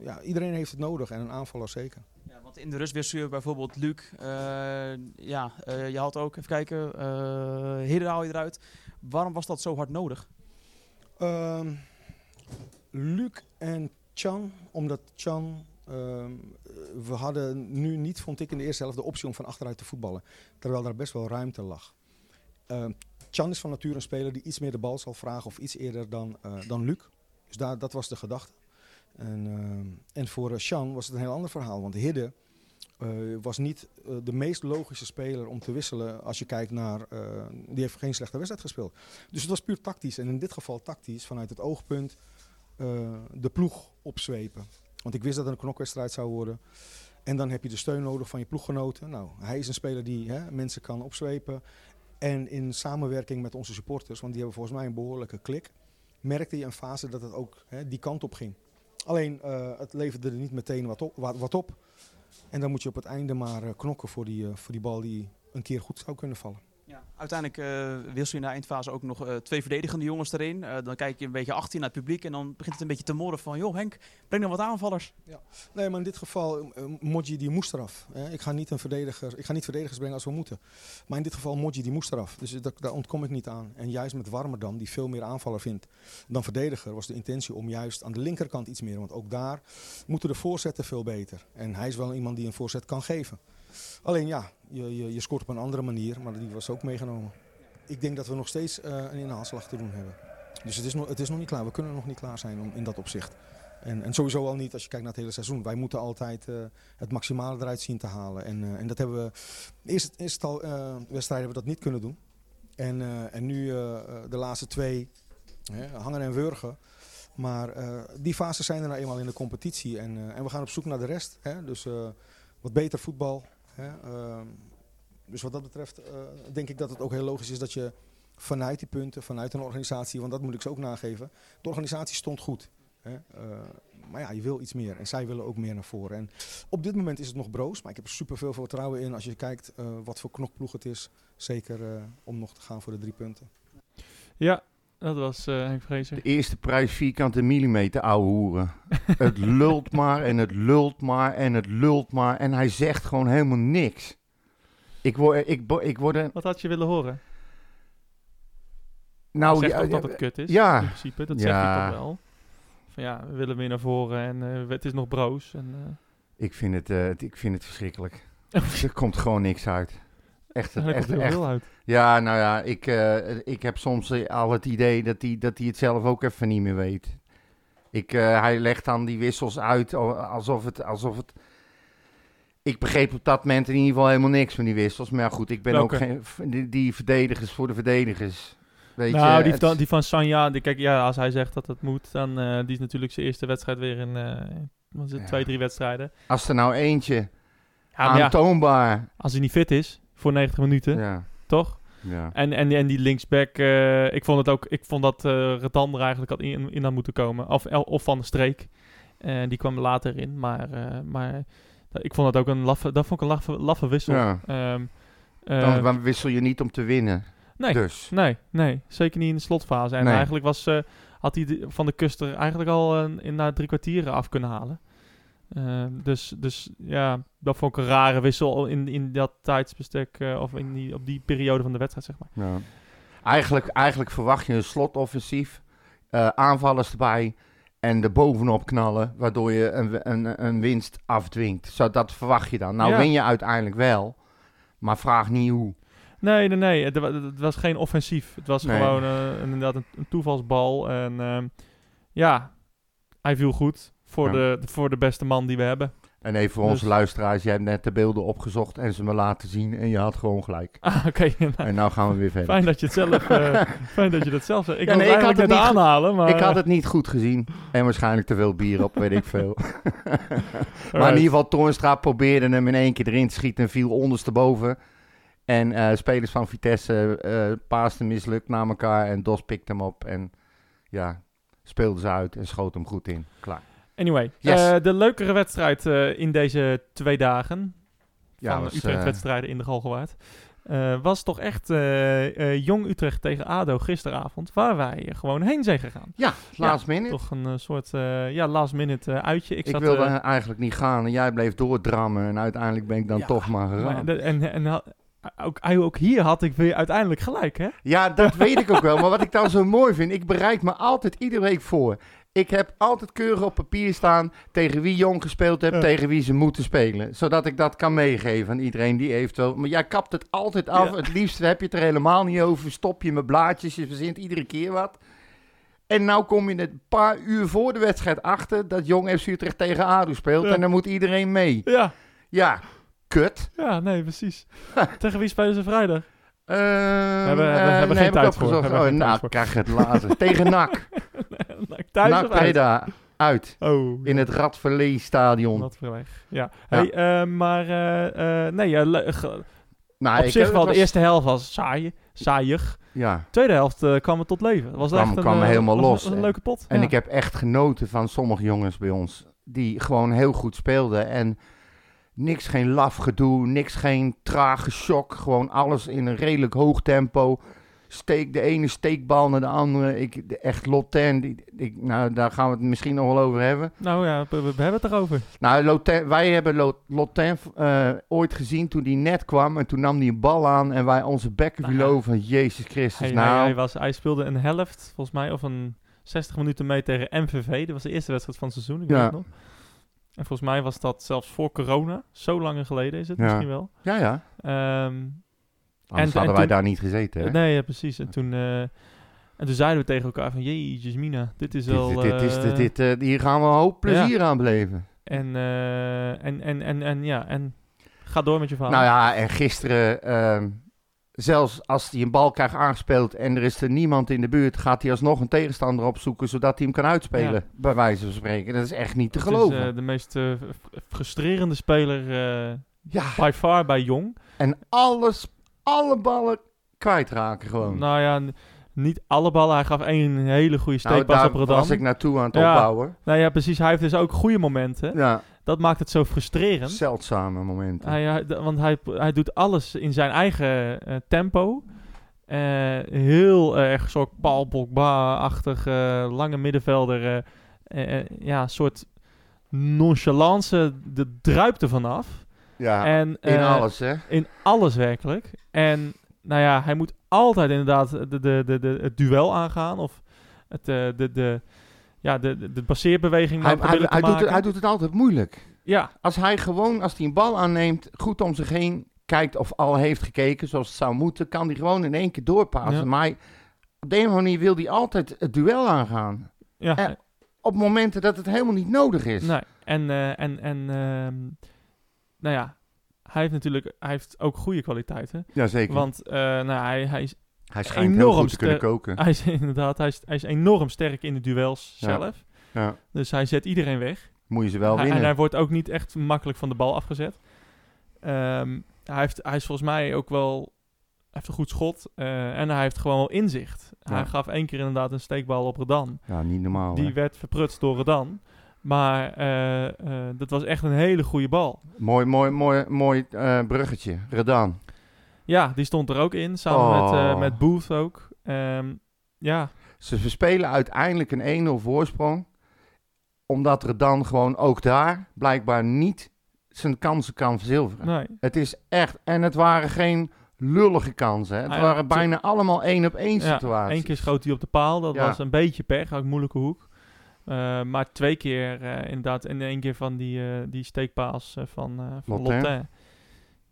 F: ja, iedereen heeft het nodig en een aanvaller zeker.
E: Ja, want in de rust wist je bijvoorbeeld Luc. eh, ja, eh, je had ook, even kijken, eh Hidden haal je eruit. Waarom was dat zo hard nodig?
F: Ehm, Luc en Chan, omdat Chan. ehm, we hadden nu niet, vond ik in de eerste helft, de optie om van achteruit te voetballen. Terwijl daar best wel ruimte lag. Ehm, Chan is van nature een speler die iets meer de bal zal vragen of iets eerder dan, eh, dan Luc. Dus daar, dat was de gedachte. En, ehm, en voor eh, Chan was het een heel ander verhaal. Want Hidde eh, was niet eh, de meest logische speler om te wisselen als je kijkt naar. eh, die heeft geen slechte wedstrijd gespeeld. Dus het was puur tactisch. En in dit geval tactisch, vanuit het oogpunt, eh, de ploeg opzwepen. Want ik wist dat het een knokwedstrijd zou worden. En dan heb je de steun nodig van je ploeggenoten. Nou, hij is een speler die hè, mensen kan opzwepen. En in samenwerking met onze supporters, want die hebben volgens mij een behoorlijke klik, merkte je een fase dat het ook hè, die kant op ging. Alleen, eh, het leverde er niet meteen wat op, wat, wat op. En dan moet je op het einde maar eh, knokken voor die, eh, voor die bal die een keer goed zou kunnen vallen.
E: Ja, uiteindelijk eh wissel je na eindfase ook nog eh, twee verdedigende jongens erin. Eh, dan kijk je een beetje achter je naar het publiek en dan begint het een beetje te morren van... joh Henk, breng dan wat aanvallers.
F: Nee, maar in dit geval, eh, Modji die moest eraf. Hè. Ik, ga niet een verdediger, ik ga niet verdedigers brengen als we moeten. Maar in dit geval, Modji die moest eraf. Dus dat, daar ontkom ik niet aan. En juist met Warmerdam, die veel meer aanvaller vindt dan verdediger, was de intentie om juist aan de linkerkant iets meer. Want ook daar moeten de voorzetten veel beter. En hij is wel iemand die een voorzet kan geven. Alleen ja, je, je, je scoort op een andere manier, maar die was ook meegenomen. Ik denk dat we nog steeds eh, een inhaalslag te doen hebben. Dus het is, nog, het is nog niet klaar. We kunnen nog niet klaar zijn om, in dat opzicht. En, en sowieso al niet als je kijkt naar het hele seizoen. Wij moeten altijd eh, het maximale eruit zien te halen. En, eh, en dat hebben we. Eerst, eerst al eh, wedstrijden hebben we dat niet kunnen doen. En, eh, en nu eh, eh, de laatste twee, hè, hangen en wurgen. Maar eh, die fases zijn er nou eenmaal in de competitie. En, eh, en we gaan op zoek naar de rest. Hè? Dus eh, wat beter voetbal. Hè? Ehm, dus wat dat betreft eh, denk ik dat het ook heel logisch is dat je vanuit die punten, vanuit een organisatie, want dat moet ik ze ook nageven. De organisatie stond goed. Hè? Eh, maar ja, je wil iets meer. En zij willen ook meer naar voren. En op dit moment is het nog broos. Maar ik heb er superveel vertrouwen in als je kijkt eh, wat voor knokploeg het is. Zeker eh, om nog te gaan voor de drie punten.
A: Ja, dat was eh Henk Vrezer.
B: De eerste prijs vierkante millimeter, ouwe hoeren. het lult maar en het lult maar en het lult maar. En hij zegt gewoon helemaal niks. Ik word, eh, ik, bo- ik word een...
A: Wat had je willen horen?
B: Nou,
A: zeg
B: ja,
A: toch
B: ja,
A: dat het kut is?
B: ja.
A: In principe, dat
B: Ja.
A: zeg je toch wel. Van ja, we willen weer naar voren en eh, het is nog broos. En,
B: *laughs*
A: eh,
B: ik, vind het, eh, het- ik vind het verschrikkelijk. er komt gewoon niks uit. Echt,
A: en dan komt
B: echt,
A: er wel
B: echt.
A: heel uit.
B: Ja, nou ja, ik, eh, ik heb soms eh, al het idee dat hij dat die het zelf ook even niet meer weet. Ik, eh, hij legt dan die wissels uit al- alsof het, alsof het... Ik begreep op dat moment in ieder geval helemaal niks van die wissels. Maar ja, goed, ik ben
A: Welke?
B: ook geen... v- Die, die verdedigers voor de verdedigers. Weet
A: nou,
B: je,
A: die,
B: het-
A: van- die van Sanja, die, kijk, ja, als hij zegt dat het moet, dan eh, die is natuurlijk zijn eerste wedstrijd weer in eh, wat is het,
B: Ja.
A: twee, drie wedstrijden.
B: Als er nou eentje
A: Ja, maar Ah, ja,
B: aantoonbaar...
A: als hij niet fit is voor 90 minuten,
B: Ja,
A: toch?
B: ja.
A: En, en, en die linksback, eh, ik vond het ook, ik vond dat eh Redan er eigenlijk had in, in had moeten komen. Of, of van de streek. Eh, die kwam later in, maar, eh, maar ik vond dat ook een laffe, dat vond ik een laffe, laffe wissel.
B: Ja.
A: Ehm,
B: Dan,
A: eh,
B: dan wissel je niet om te winnen.
A: nee,
B: Dus,
A: Nee, nee, zeker niet in de slotfase. En
B: Nee.
A: eigenlijk was, eh, had hij de- van de kust er eigenlijk al eh, in, na drie kwartieren af kunnen halen. Eh, dus, dus ja, dat vond ik een rare wissel in, in dat tijdsbestek, eh, of in die, op die periode van de wedstrijd, zeg maar.
B: Ja. Eigenlijk, eigenlijk verwacht je een slotoffensief, eh, aanvallers erbij en er bovenop knallen, waardoor je een, een, een winst afdwingt. Zo, dat verwacht je dan. Nou
A: Ja.
B: win je uiteindelijk wel, maar vraag niet hoe.
A: Nee, nee, nee, het, wa- het was geen offensief. Het was
B: Nee.
A: gewoon eh, inderdaad een, een toevalsbal. En ehm, ja, hij viel goed voor,
B: Ja.
A: de, voor de beste man die we hebben. *laughs*
B: En even voor onze
A: Dus-
B: luisteraars, jij hebt net de beelden opgezocht en ze me laten zien en je had gewoon gelijk.
A: Ah, oké.
B: *laughs*
A: nou,
B: En nou gaan we weer verder.
A: fijn dat je het zelf... eh, *laughs* fijn dat je dat zelf zegt. Ik
B: Ja,
A: kan
B: nee,
A: het
B: ik
A: eigenlijk
B: had
A: net
B: het niet ge-
A: aanhalen, maar...
B: Ik had het niet goed gezien en waarschijnlijk te veel bier op, weet ik
A: *laughs*
B: veel. *laughs*
A: eh,
B: Maar in
A: alright.
B: ieder geval, Toornstra probeerde hem in één keer erin te schieten en viel ondersteboven. En eh, spelers van Vitesse eh paasten mislukt naar elkaar en Dos pikte hem op en ja, speelde ze uit en schoot hem goed in. Klaar.
A: Anyway,
B: Yes.
A: eh, de leukere wedstrijd eh, in deze twee dagen
B: Ja,
A: van
B: was, eh,
A: Utrecht-wedstrijden in de Galgenwaard eh, was toch echt eh, eh, Jong Utrecht tegen ADO gisteravond, waar wij eh, gewoon heen zijn gegaan.
B: ja, laatst minute.
A: Toch een eh, soort eh, ja, last minute eh, uitje. Ik,
B: Ik,
A: zat,
B: wilde
A: eh,
B: eigenlijk niet gaan en jij bleef doordrammen en uiteindelijk ben ik dan
A: Ja,
B: toch maar
A: maar
B: geraakt.
A: de- en, en, ha- ook, eh, ook hier had ik weer uiteindelijk gelijk,
B: *laughs*
A: hè?
B: Ja, dat weet ik ook wel. Maar wat ik dan zo mooi vind, ik bereid me altijd iedere week voor. Ik heb altijd keurig op papier staan tegen wie Jong gespeeld heeft,
A: Ja.
B: tegen wie ze moeten spelen. Zodat ik dat kan meegeven aan iedereen die eventueel... Maar jij kapt het altijd af.
A: Ja.
B: Het liefst heb je het er helemaal niet over. Stop je met blaadjes, je verzint iedere keer wat. En nou kom je net een paar uur voor de wedstrijd achter dat Jong FC Utrecht tegen ADO speelt.
A: Ja.
B: En dan moet iedereen mee.
A: Ja,
B: Ja, kut.
A: ja nee,
B: *laughs*
A: precies. tegen wie spelen ze vrijdag? *laughs*
B: Ehm,
A: hebben- we
B: eh,
A: hebben
B: nee,
A: geen
B: heb ik
A: tijd voor.
B: opgezocht.
A: We hebben
B: Oh,
A: geen tijd
B: nou,
A: voor.
B: ik krijg het later. tegen NAC.
A: Thuis
B: NAC
A: of uit?
B: Breda uit
A: Oh,
B: in het Radverlee Stadion.
A: Wat voor weg. Ja. Hey, eh, maar eh, eh, nee, ja, le- ge-
B: Nou,
A: op
B: ik-
A: zich
B: het
A: wel.
B: was-
A: De eerste helft was saai, saaiig.
B: Ja.
A: Tweede helft eh, kwam het tot leven. Het was
B: Kwam-
A: echt een,
B: kwam
A: eh,
B: helemaal
A: was een-
B: los.
A: was een leuke pot.
B: En
A: ja.
B: ik heb echt genoten van sommige jongens bij ons die gewoon heel goed speelden en niks geen laf gedoe, niks geen trage shock, gewoon alles in een redelijk hoog tempo. Steek de ene steekbal naar de andere. Ik, de- echt Lotin, die, ik, nou, daar gaan we het misschien nog wel over hebben.
A: Nou ja, we, we hebben het erover.
B: Nou, Lotin, wij hebben Lo- Lotin eh, ooit gezien toen hij net kwam. En toen nam hij een bal aan en wij onze bekken
A: Nou.
B: vielen over. Jezus Christus,
A: Hij,
B: nou.
A: hij, hij was, hij speelde een helft, volgens mij, of een 60 minuten mee tegen MVV. Dat was de eerste wedstrijd van het seizoen, ik
B: Ja.
A: weet het nog. En volgens mij was dat zelfs voor corona. Zo lang geleden is het
B: Ja.
A: misschien wel.
B: Ja, ja.
A: Ehm,
B: Anders
A: en
B: hadden wij
A: toen-
B: daar niet gezeten. Hè?
A: nee, ja, precies. En toen, eh, en toen zeiden we tegen elkaar van... Jezus mina, dit is wel...
B: dit, dit, dit, is-
A: eh,
B: dit, dit, eh, hier gaan we een hoop plezier aan beleven.
A: En, eh, en, en, en, en ja, en ga door met je verhaal.
B: Nou ja, en gisteren, ehm, zelfs als hij een bal krijgt aangespeeld en er is er niemand in de buurt, gaat hij alsnog een tegenstander opzoeken zodat hij hem kan uitspelen.
A: Ja.
B: Bij wijze van spreken. Dat is echt niet te
A: Het
B: geloven.
A: is eh, de meest eh, fr- frustrerende speler eh,
B: ja,
A: by far bij Jong.
B: en alles, alle ballen kwijtraken gewoon.
A: Nou ja, n- niet alle ballen. Hij gaf één hele goede
B: Nou,
A: steekpas
B: daar
A: op Rodan.
B: was ik naartoe aan het
A: Ja.
B: opbouwen.
A: Nou ja, precies. Hij heeft dus ook goede momenten.
B: Ja,
A: Dat maakt het zo frustrerend.
B: zeldzame momenten.
A: Hij, hij- d- want hij, hij doet alles in zijn eigen eh, tempo. Eh, heel erg soort Paul Pogba-achtig, eh, lange middenvelder. eh, eh, eh, ja, soort nonchalance, de druipt er vanaf.
B: ja,
A: en,
B: in
A: eh,
B: alles hè.
A: In alles werkelijk. En nou ja, hij moet altijd inderdaad de, de, de, de, het duel aangaan. Of het, eh, de, de, ja, de, de, de passeerbeweging
B: Hij,
A: nou
B: hij,
A: proberen te
B: hij doet het,
A: maken.
B: hij doet het altijd moeilijk.
A: Ja,
B: Als hij gewoon, als hij een bal aanneemt, goed om zich heen kijkt of al heeft gekeken zoals het zou moeten, kan hij gewoon in één keer doorpassen.
A: Ja.
B: Maar hij- op de een of andere manier wil hij altijd het duel aangaan.
A: ja.
B: Eh, Op momenten dat het helemaal niet nodig is.
A: Nee, en, eh, en, en ehm, nou ja, hij heeft natuurlijk hij heeft ook goede kwaliteiten.
B: Jazeker.
A: Want eh, nou, hij, hij, is, *laughs*
B: hij
A: schijnt heel enorm goed te kunnen ster-
B: koken.
A: hij is inderdaad hij is, hij is enorm sterk in de duels
B: Ja.
A: zelf.
B: Ja.
A: Dus hij zet iedereen weg.
B: Moet je ze wel
A: Hij- en
B: winnen.
A: hij wordt ook niet echt makkelijk van de bal afgezet. Ehm, hij, heeft, hij is volgens mij ook wel... Hij heeft een goed schot eh, en hij heeft gewoon wel inzicht. Hij
B: Ja. Oh,
A: gaf één keer inderdaad een steekbal op Redan.
B: ja, niet normaal.
A: Die
B: hè.
A: werd verprutst door Redan. Maar eh, eh, dat was echt een hele goede bal.
B: Mooi, mooi, mooi, mooi eh, bruggetje. Redan.
A: Ja, die stond er ook in, samen met, eh,
B: Oh.
A: met Booth ook. Ehm, ja,
B: Ze verspelen uiteindelijk een 1-0 voorsprong. Omdat Redan gewoon ook daar blijkbaar niet zijn kansen kan verzilveren.
A: nee.
B: Het is echt. En het waren geen lullige kansen. hè. Het
A: Ah ja,
B: waren
A: tu-
B: bijna allemaal één op één
A: Ja,
B: situaties.
A: Eén keer schoot hij op de paal, dat
B: Ja.
A: was een beetje pech, ook een moeilijke hoek. Eh, maar twee keer eh, inderdaad, en één keer van die, eh, die steekpaas eh, van, eh van
B: Lotin.
A: Lotin.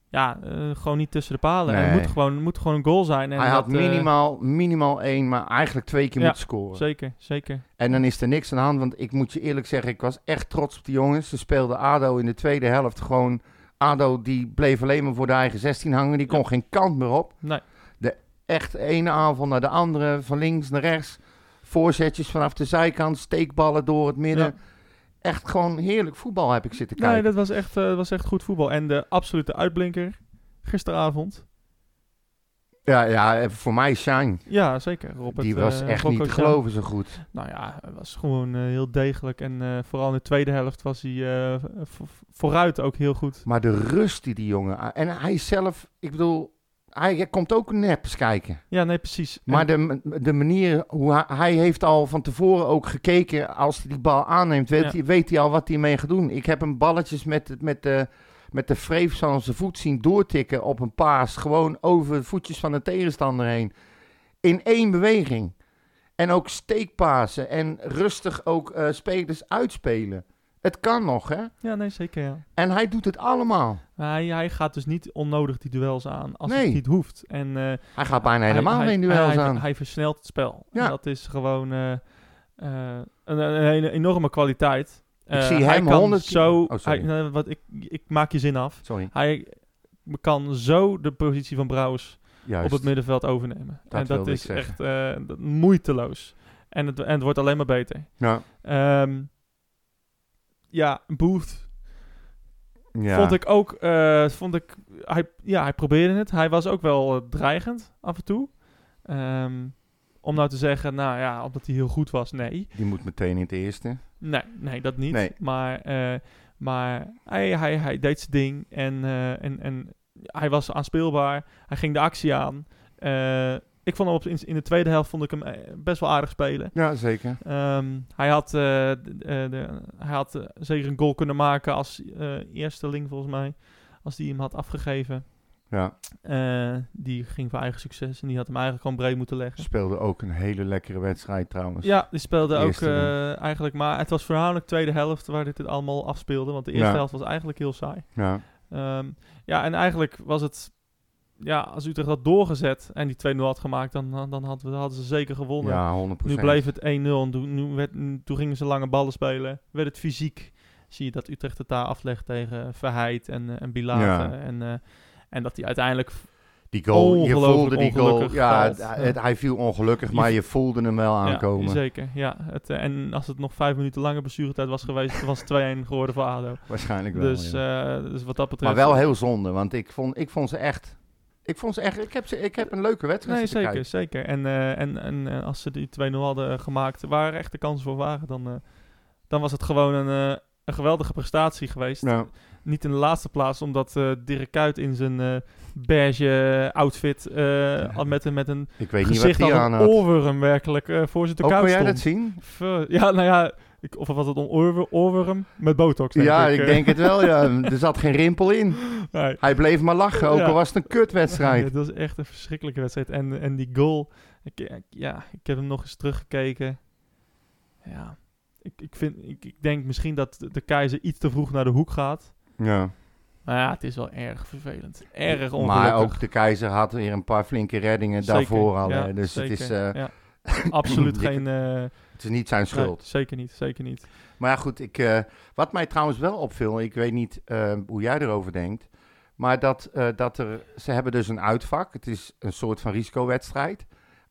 A: ja, eh, gewoon niet tussen de palen.
B: Nee.
A: Het moet gewoon, het moet gewoon een goal zijn. En
B: Hij had
A: dat, eh,
B: minimaal, minimaal één, maar eigenlijk twee keer
A: ja,
B: moeten scoren.
A: zeker, zeker.
B: En dan is er niks aan de hand, want ik moet je eerlijk zeggen, ik was echt trots op die jongens. Ze speelden ADO in de tweede helft gewoon... ADO die bleef alleen maar voor de eigen 16 hangen, die kon geen kant meer op.
A: Nee.
B: De echt ene aanval naar de andere, van links naar rechts. Voorzetjes vanaf de zijkant, steekballen door het midden.
A: Ja.
B: Echt gewoon heerlijk voetbal heb ik zitten kijken.
A: Nee, dat was echt, eh, dat was echt goed voetbal. En de absolute uitblinker gisteravond.
B: Ja, ja, eh, voor mij Shine.
A: Ja, zeker. Robert,
B: die was
A: eh,
B: echt
A: Rocco
B: niet te
A: Jean.
B: geloven zo goed.
A: Nou ja, hij was gewoon eh, heel degelijk. En eh, vooral in de tweede helft was hij eh, v- v- vooruit ook heel goed.
B: Maar de rust die die jongen... a- En hij zelf, ik bedoel, hij, hij komt ook neps kijken.
A: Ja, nee, precies. En-
B: Maar de, de manier hoe hij, hij heeft al van tevoren ook gekeken... Als hij die bal aanneemt, weet,
A: Ja.
B: hij, weet hij al wat hij mee gaat doen. Ik heb hem balletjes met, met, de, met de vreef aan zijn voet zien doortikken op een paas. Gewoon over de voetjes van de tegenstander heen. In één beweging. En ook steekpasen en rustig ook eh, spelers uitspelen. Het kan nog, hè?
A: Ja, nee, zeker. Ja.
B: En hij doet het allemaal.
A: Hij, hij gaat dus niet onnodig die duels aan als
B: Nee.
A: het niet hoeft. En, eh,
B: Hij gaat bijna
A: hij-
B: helemaal
A: hij-
B: geen duels
A: hij-
B: aan.
A: Hij versnelt het spel.
B: Ja.
A: En dat is gewoon eh, eh, een, een hele enorme kwaliteit. Eh,
B: zie
A: hij
B: hem
A: kan
B: 100 keer-
A: zo.
B: Oh, sorry.
A: hij- eh, wat, ik, ik maak je zin af.
B: Sorry,
A: Hij kan zo de positie van Brouwers
B: juist.
A: op het middenveld overnemen.
B: Dat
A: en dat
B: wilde ik
A: is
B: zeggen.
A: echt eh, dat- moeiteloos. En het, en het wordt alleen maar beter.
B: Nou,
A: Ehm, ja, Booth
B: ja.
A: vond ik ook... eh, vond ik, hij, ja, hij probeerde het. Hij was ook wel eh, dreigend af en toe. Ehm, om nou te zeggen, nou ja, omdat hij heel goed was, nee.
B: Die moet meteen in het eerste.
A: Nee, nee dat niet.
B: Nee.
A: Maar, eh, maar hij, hij, hij deed zijn ding en, eh, en, en hij was aanspeelbaar. Hij ging de actie aan. Eh, ik vond hem op, in, in de tweede helft vond ik hem eh, best wel aardig spelen.
B: Ja, zeker.
A: Ehm, hij had, eh, d- eh, de- hij had eh, zeker een goal kunnen maken als eh, eerste eersteling volgens mij. Als die hem had afgegeven.
B: Ja,
A: Eh, die ging voor eigen succes en die had hem eigenlijk gewoon breed moeten leggen.
B: speelde ook een hele lekkere wedstrijd trouwens.
A: Ja, die speelde ook
B: Eerste ring.
A: eh, eigenlijk. Maar het was voornamelijk tweede helft waar dit, dit allemaal afspeelde. Want de
B: Ja.
A: eerste helft was eigenlijk heel saai.
B: Ja.
A: Ehm, ja, en eigenlijk was het. Ja, als Utrecht had doorgezet en die 2-0 had gemaakt, dan, dan hadden, we, hadden ze zeker gewonnen.
B: Ja, 100%.
A: nu bleef het 1-0. en toen- nu werd- nu- Toen gingen ze lange ballen spelen. Werd het fysiek. Zie je dat Utrecht het daar aflegt tegen Verheid en, eh, en Bilate.
B: Ja.
A: En, eh, en dat die uiteindelijk.
B: die goal, je
A: ongelooflijk
B: voelde die goal.
A: ongelukkig
B: Ja,
A: valt.
B: het- het- hij viel ongelukkig,
A: Je-
B: maar je voelde hem wel
A: ja,
B: aankomen.
A: zeker. Ja, het, eh, en als het nog vijf minuten langer blessuretijd was geweest, was het 2-1 geworden voor Ado.
B: Waarschijnlijk wel.
A: Dus,
B: ja.
A: eh, dus wat dat
B: maar
A: betreft.
B: wel heel zonde, want ik vond, ik vond ze echt... Ik vond ze echt... Ik heb, ze, ik heb een leuke wedstrijd
A: Nee,
B: zitten
A: zeker,
B: kijken.
A: zeker. En, eh, en, en eh, als ze die 2-0 hadden eh, gemaakt, waar er echt de kansen voor waren, dan, eh, dan was het gewoon een, eh, een geweldige prestatie geweest.
B: Nou,
A: Niet in de laatste plaats, omdat eh Dirk Kuyt in zijn eh, beige outfit eh,
B: *laughs*
A: al met, een- met een
B: ik weet niet wat
A: gezicht
B: die aan
A: als een
B: had. Ook
A: oorworm werkelijk eh, voor zijn te
B: kon
A: koud
B: jij
A: stond.
B: dat zien?
A: Ver- ja, nou ja, ik, of was het een oorwor- oorworm met botox? Denk
B: ja,
A: ik,
B: ik
A: eh.
B: denk het wel. Ja. Er zat geen rimpel in.
A: *laughs* Nee.
B: Hij bleef maar lachen, ook
A: Ja.
B: al was het een kutwedstrijd.
A: Ja, dat was echt een verschrikkelijke wedstrijd. En, en die goal, ik, ik- ja, ik heb hem nog eens teruggekeken. Ja, ik, ik, vind, ik, ik denk misschien dat de, de keizer iets te vroeg naar de hoek gaat.
B: Ja.
A: Maar ja, het is wel erg vervelend. Erg ongelukkig.
B: Maar ook de keizer had weer een paar flinke reddingen
A: Zeker,
B: daarvoor al.
A: ja,
B: hè. dus het,
A: zeker,
B: is, eh, *laughs*
A: ja. Absoluut
B: dikke
A: geen... eh,
B: het is niet zijn schuld.
A: nee, zeker niet, zeker niet.
B: Maar ja, goed, ik, eh, wat mij trouwens wel opviel, ik weet niet eh, hoe jij erover denkt, maar dat, eh, dat er, ze hebben dus een uitvak. Het is een soort van risicowedstrijd.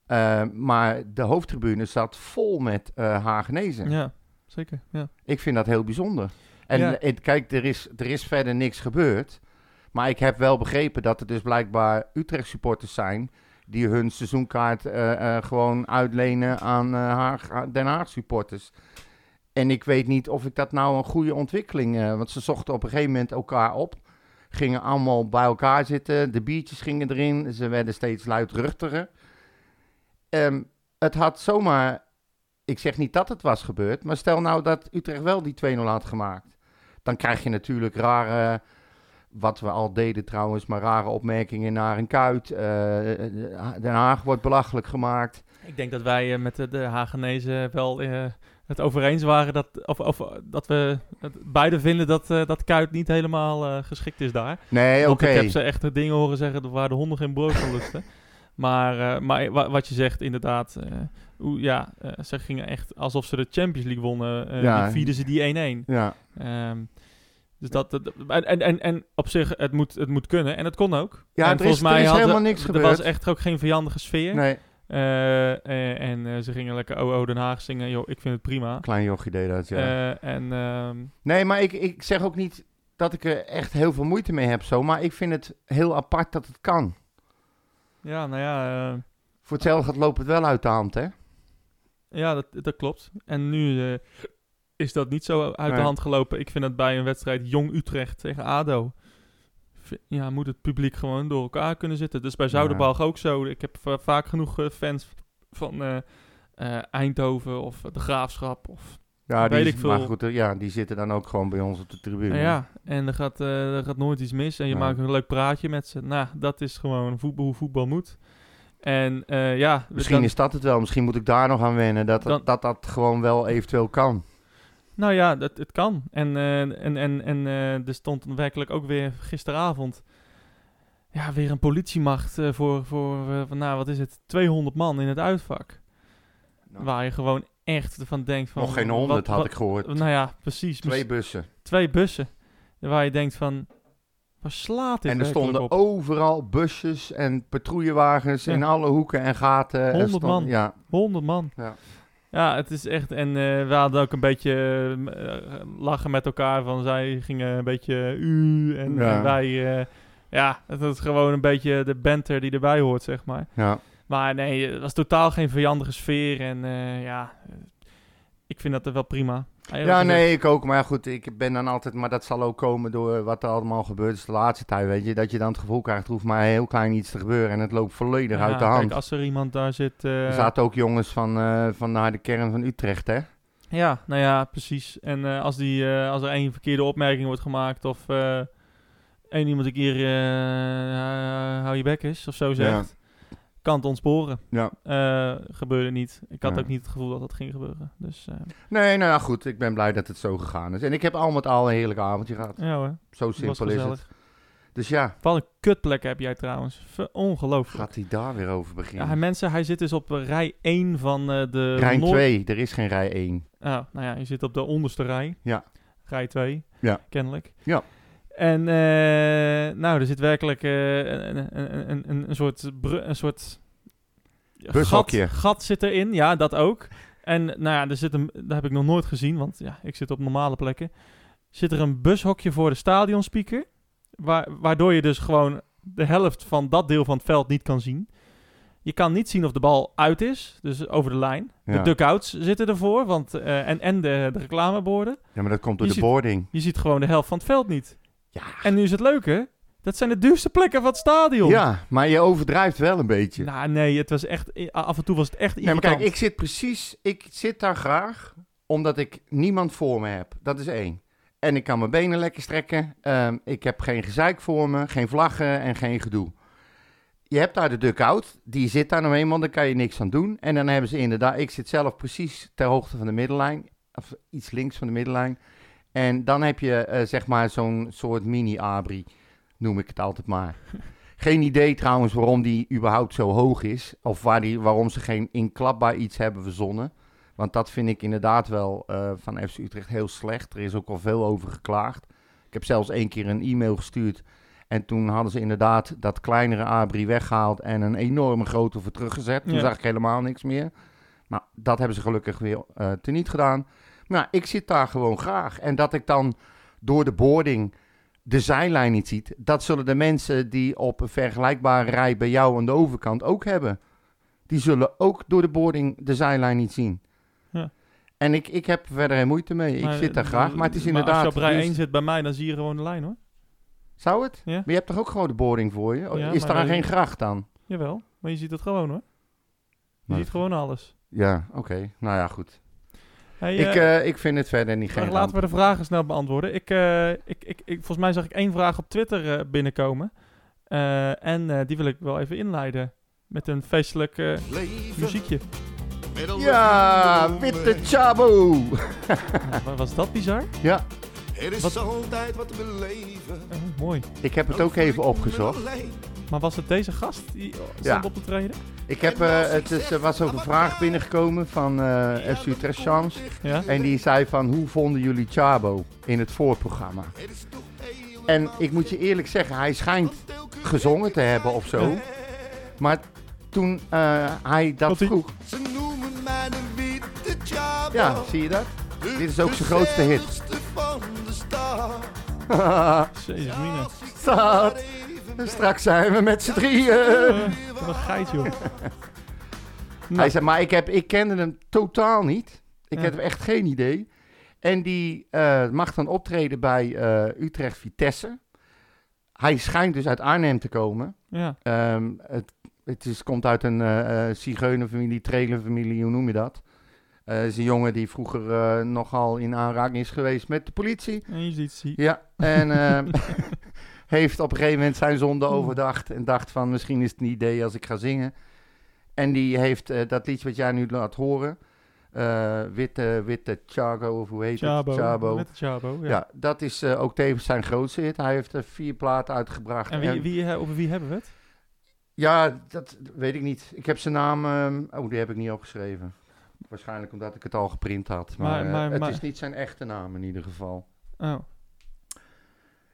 B: Eh, maar de hoofdtribune zat vol met eh Hagenezen.
A: Ja, zeker, ja.
B: Ik vind dat heel bijzonder. En
A: Ja.
B: eh, kijk, er is, er is verder niks gebeurd. Maar ik heb wel begrepen dat er dus blijkbaar Utrecht supporters zijn... die hun seizoenkaart eh, eh, gewoon uitlenen aan eh, Haag, aan Den Haag supporters. En ik weet niet of ik dat nou een goede ontwikkeling... eh, want ze zochten op een gegeven moment elkaar op. Gingen allemaal bij elkaar zitten. De biertjes gingen erin. Ze werden steeds luidruchtiger. Ehm, het had zomaar ik zeg niet dat het was gebeurd, maar stel nou dat Utrecht wel die 2-0 had gemaakt. Dan krijg je natuurlijk rare, wat we al deden trouwens, maar rare opmerkingen naar een kuit. Eh, Den Haag wordt belachelijk gemaakt.
A: Ik denk dat wij eh, met de, de Hagenezen wel eh, het over eens waren dat, of, of, eh, dat we het, beide vinden dat, eh, dat Kuit niet helemaal eh, geschikt is daar.
B: Nee, Eh, oké.
A: Want ik heb ze echt de dingen horen zeggen waar de honden geen brood van lusten. maar eh, maar wa- wat je zegt, inderdaad. eh, hoe- ja, eh, ze gingen echt alsof ze de Champions League wonnen. eh
B: Ja.
A: die vierden ze die 1-1.
B: Ja,
A: Ehm, dus dat, dat- en, en, en op zich, het moet, het moet kunnen. En het kon ook.
B: Ja,
A: en
B: er is- er is
A: hadden-
B: helemaal niks
A: Er
B: gebeurd.
A: was echt ook geen vijandige sfeer.
B: nee.
A: Eh, eh, en eh, ze gingen lekker OO Den Haag zingen. Yo, ik vind het prima.
B: Klein jochie deed dat, ja.
A: Eh, en ehm,
B: Nee, maar ik, ik zeg ook niet dat ik er echt heel veel moeite mee heb zo. Maar ik vind het heel apart dat het kan.
A: ja, nou ja... eh,
B: Voor hetzelfde gaat loopt het wel uit de hand, hè?
A: Ja, dat, dat klopt. En nu eh, is dat niet zo uit
B: Nee.
A: de hand gelopen. Ik vind dat bij een wedstrijd Jong Utrecht tegen ADO... v- Ja, moet het publiek gewoon door elkaar kunnen zitten. Dus bij Zouderbalg ook zo. Ik heb va- vaak genoeg eh, fans van eh, eh, Eindhoven of de Graafschap. Of,
B: Ja, die
A: Weet
B: is-
A: ik veel.
B: Maar goed, eh, ja, die zitten dan ook gewoon bij ons op de tribune.
A: Nou ja, en er gaat, eh, er gaat nooit iets mis. En je
B: Nee.
A: maakt een leuk praatje met ze. Nou, dat is gewoon voetbal, hoe voetbal moet. En eh, ja...
B: Misschien
A: dan-
B: is dat het wel. Misschien moet ik daar nog aan wennen. Dat
A: Dan-
B: dat, dat, dat gewoon wel eventueel kan.
A: Nou ja, dat, het kan. En, eh, en, en, en eh, er stond werkelijk ook weer gisteravond ja, weer een politiemacht eh, voor, voor eh, van, nou, wat is het, 200 man in het uitvak.
B: Nou.
A: Waar je gewoon echt van denkt van...
B: nog geen
A: wat-
B: honderd had
A: wat-
B: ik gehoord.
A: Nou ja, precies. Mis-
B: Twee
A: Twee,
B: bussen.
A: bussen. Waar je denkt van, waar slaat dit
B: En er
A: werkelijk
B: stonden
A: op?
B: overal busjes en patrouillewagens
A: Ja.
B: in alle hoeken en gaten. Er
A: Honderd
B: stonden-
A: man.
B: Ja,
A: 100 man.
B: Ja.
A: Ja, het is echt. En eh, we hadden ook een beetje eh, lachen met elkaar. Van zij gingen een beetje eh, u en,
B: Ja.
A: en wij. eh, ja, het is gewoon een beetje de banter die erbij hoort, zeg maar.
B: ja.
A: Maar nee, het was totaal geen vijandige sfeer. En eh, ja, eh, ik vind dat er wel prima. Eigenlijk
B: ja
A: gezegd,
B: nee, ik ook. Maar goed, ik ben dan altijd... Maar dat zal ook komen door wat er allemaal gebeurd is de laatste tijd, weet je. Dat je dan het gevoel krijgt, er hoeft maar heel klein iets te gebeuren. En het loopt volledig
A: ja,
B: uit de hand.
A: Kijk, als er iemand daar zit. eh,
B: Er zaten ook jongens van, eh, van de harde kern van Utrecht, hè?
A: Ja, nou ja, precies. En eh, als, die, eh, als er één verkeerde opmerking wordt gemaakt of eh, één iemand een keer eh, eh, hou je bek is of zo zegt, kan het ontsporen.
B: Ja.
A: Eh, gebeurde niet. Ik had
B: Ja.
A: ook niet het gevoel dat dat ging gebeuren. Dus eh,
B: Nee, nou ja, goed. Ik ben blij dat het zo gegaan is. En ik heb al met al een heerlijk avondje gehad.
A: ja hoor,
B: Zo
A: het was
B: simpel is het.
A: gezellig.
B: Dus ja,
A: Wat een kutplek heb jij trouwens. Ver- Ongelooflijk.
B: gaat hij daar weer over beginnen?
A: Ja, mensen, hij zit dus op eh, rij 1 van eh, de...
B: Rijn
A: Noord-
B: 2, er is geen rij 1.
A: Oh, nou ja, je zit op de onderste rij.
B: Ja.
A: Rij 2.
B: Ja.
A: Kennelijk.
B: Ja.
A: En eh, nou, er zit werkelijk eh, een, een, een, een, een soort, bru- een soort gat,
B: Bushokje.
A: gat zit erin. Ja, dat ook. En nou ja, er zit een, dat heb ik nog nooit gezien, want ja, ik zit op normale plekken. Zit er een bushokje voor de stadionspeaker, waar, waardoor je dus gewoon de helft van dat deel van het veld niet kan zien. Je kan niet zien of de bal uit is, dus over de lijn.
B: Ja.
A: De duckouts zitten ervoor, want, eh, en, en de, de reclameborden.
B: Ja, maar dat komt door
A: Je
B: de
A: ziet-
B: boarding.
A: Je ziet gewoon de helft van het veld niet.
B: Ja.
A: En nu is het leuke, dat zijn de duurste plekken van het stadion.
B: Ja, maar je overdrijft wel een beetje.
A: Nou nee, het was echt, af en toe was het echt
B: nee, maar
A: irritant.
B: kijk, ik zit precies, ik zit daar graag omdat ik niemand voor me heb. Dat is één. En ik kan mijn benen lekker strekken. Ehm, ik heb geen gezeik voor me, geen vlaggen en geen gedoe. Je hebt daar de duck-out, die zit daar nou eenmaal, daar kan je niks aan doen. En dan hebben ze inderdaad, ik zit zelf precies ter hoogte van de middenlijn, of iets links van de middenlijn. En dan heb je eh, zeg maar zo'n soort mini-abri, noem ik het altijd maar. Geen idee trouwens waarom die überhaupt zo hoog is. Of waar die, waarom ze geen inklapbaar iets hebben verzonnen. Want dat vind ik inderdaad wel eh, van FC Utrecht heel slecht. Er is ook al veel over geklaagd. Ik heb zelfs één keer een e-mail gestuurd. En toen hadden ze inderdaad dat kleinere Abri weggehaald en een enorme grote voor teruggezet. Toen
A: Ja.
B: zag ik helemaal niks meer. Maar dat hebben ze gelukkig weer eh teniet gedaan. Maar ja, ik zit daar gewoon graag. En dat ik dan door de boarding de zijlijn niet ziet, dat zullen de mensen die op een vergelijkbare rij bij jou aan de overkant ook hebben. Die zullen ook door de boarding de zijlijn niet zien.
A: Ja.
B: En ik, ik heb verder geen moeite mee. Ik
A: Maar,
B: zit daar
A: eh,
B: graag. Maar het is
A: als
B: inderdaad.
A: je op rij
B: dus-
A: 1 zit bij mij, dan zie je gewoon de lijn hoor.
B: Zou het?
A: Ja.
B: Maar je hebt toch ook gewoon de boarding voor je? Oh,
A: Ja,
B: is
A: maar
B: daar
A: wij-
B: geen gracht aan?
A: Jawel, maar je ziet het gewoon hoor. Je
B: Maar-
A: ziet gewoon alles.
B: Ja, oké. Nou ja, goed.
A: Hey,
B: ik,
A: eh,
B: eh, ik vind het verder niet geen.
A: laten we de vragen snel beantwoorden. Ik, eh, ik, ik, ik, volgens mij zag ik één vraag op Twitter eh, binnenkomen. *laughs* Eh, en eh, die wil ik wel even inleiden. Met een feestelijk eh, muziekje.
G: Middel-
B: Ja, witte Chabo. *laughs*
A: Wa- Was dat bizar?
B: Ja,
G: Er is altijd wat te beleven.
A: Oh, mooi.
B: ik heb het ook even opgezocht.
A: Maar was het deze gast die oh, stond
B: Ja.
A: op te treden?
B: Ik heb, eh, het is, er was ook een vraag binnengekomen van eh FC Utrecht Chance.
A: Ja.
B: En die zei van, hoe vonden jullie Chabo in het voorprogramma? En ik moet je eerlijk zeggen, hij schijnt gezongen te hebben of zo. Maar toen eh, hij dat
A: Komt-ie.
B: vroeg...
G: Ze noemen mij de witte Chabo.
B: Ja, zie je dat? *laughs*
G: De
B: dit is ook zijn grootste hit.
G: gezelligste van de stad.
A: Jezus, mina.
G: Als ik
B: Stad.
G: maar even ben.
B: Straks zijn we met z'n
C: Nou.
B: drieën.
A: Eh, wat een geit, joh.
B: Hij zei, maar ik, heb, ik kende hem totaal niet. Ik
A: Ja.
B: heb echt geen idee. En die eh, mag dan optreden bij eh, Utrecht Vitesse. Hij schijnt dus uit Arnhem te komen.
A: Ja.
B: Ehm, het het is, komt uit een eh eh, zigeunerfamilie, trailerfamilie, hoe noem je dat? Eh is een jongen die vroeger eh, nogal in aanraking is geweest met de politie.
A: En je ziet zie.
B: Ja, en
A: *laughs*
B: ehm, heeft op een gegeven moment zijn zonde overdacht en dacht van misschien is het een idee als ik ga zingen. En die heeft eh, dat liedje wat jij nu laat horen, eh, Witte, Witte Chago of hoe heet
A: Chabo.
B: het? Chabo.
A: Met Chabo. Ja.
B: Ja. dat is eh, ook tevens zijn grootste hit. Hij heeft er vier platen uitgebracht.
A: En wie, wie, eh, over wie hebben we het?
B: Ja, dat weet ik niet. Ik heb zijn naam. ehm, oh, die heb ik niet opgeschreven. Waarschijnlijk omdat ik het al geprint had. Maar,
A: Maar-
B: eh,
A: maar-
B: het
A: maar-
B: is niet zijn echte naam in ieder geval.
A: Oh.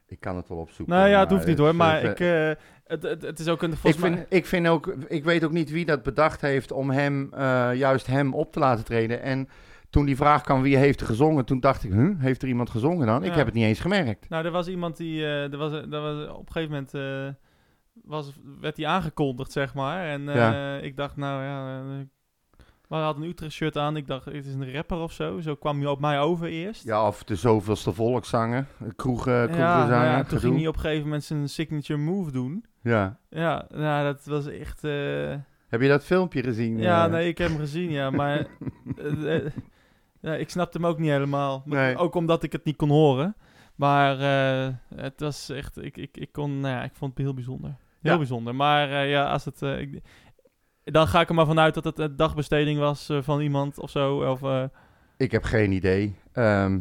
B: Ik kan het wel opzoeken.
A: Nou ja, het
B: maar
A: hoeft niet hoor.
B: is
A: Maar
B: even-
A: ik, eh, het, het, het is ook een...
B: ik,
A: Volgens
B: vind,
A: mij...
B: ik vind ook. Ik weet ook niet wie dat bedacht heeft om hem, eh, juist hem op te laten treden. En toen die vraag kwam wie heeft er gezongen, toen dacht ik, huh, heeft er iemand gezongen dan? Ik
A: Ja.
B: heb het niet eens gemerkt.
A: Nou, er was iemand die... eh, er was, er was, op een gegeven moment eh, was, werd hij aangekondigd, zeg maar. En eh,
B: Ja.
A: ik dacht, nou ja... eh, maar hij had een Utrecht-shirt aan. Ik dacht, het is een rapper of zo. Zo kwam hij op mij over eerst.
B: Ja, of de zoveelste volkszanger, eh, kroegen,
A: ja, nou
B: kroegenzanger.
A: ja, toen
B: gedoe.
A: ging hij op een gegeven moment zijn signature move doen.
B: ja.
A: Ja, nou, dat was echt... eh,
B: Heb je dat filmpje gezien?
A: Ja,
B: eh?
A: nee, ik heb hem gezien, ja,
B: *laughs*
A: maar eh, eh, ja, ik snapte hem ook niet helemaal. Maar
B: Nee.
A: Ook omdat ik het niet kon horen. Maar eh, het was echt, ik, ik, ik kon, nou ja, ik vond het heel bijzonder. Heel
B: Ja.
A: bijzonder. Maar eh, ja, als het, eh, ik- dan ga ik er maar vanuit dat het een dagbesteding was eh, van iemand of zo. Of, eh,
B: Ik heb geen idee. Ehm,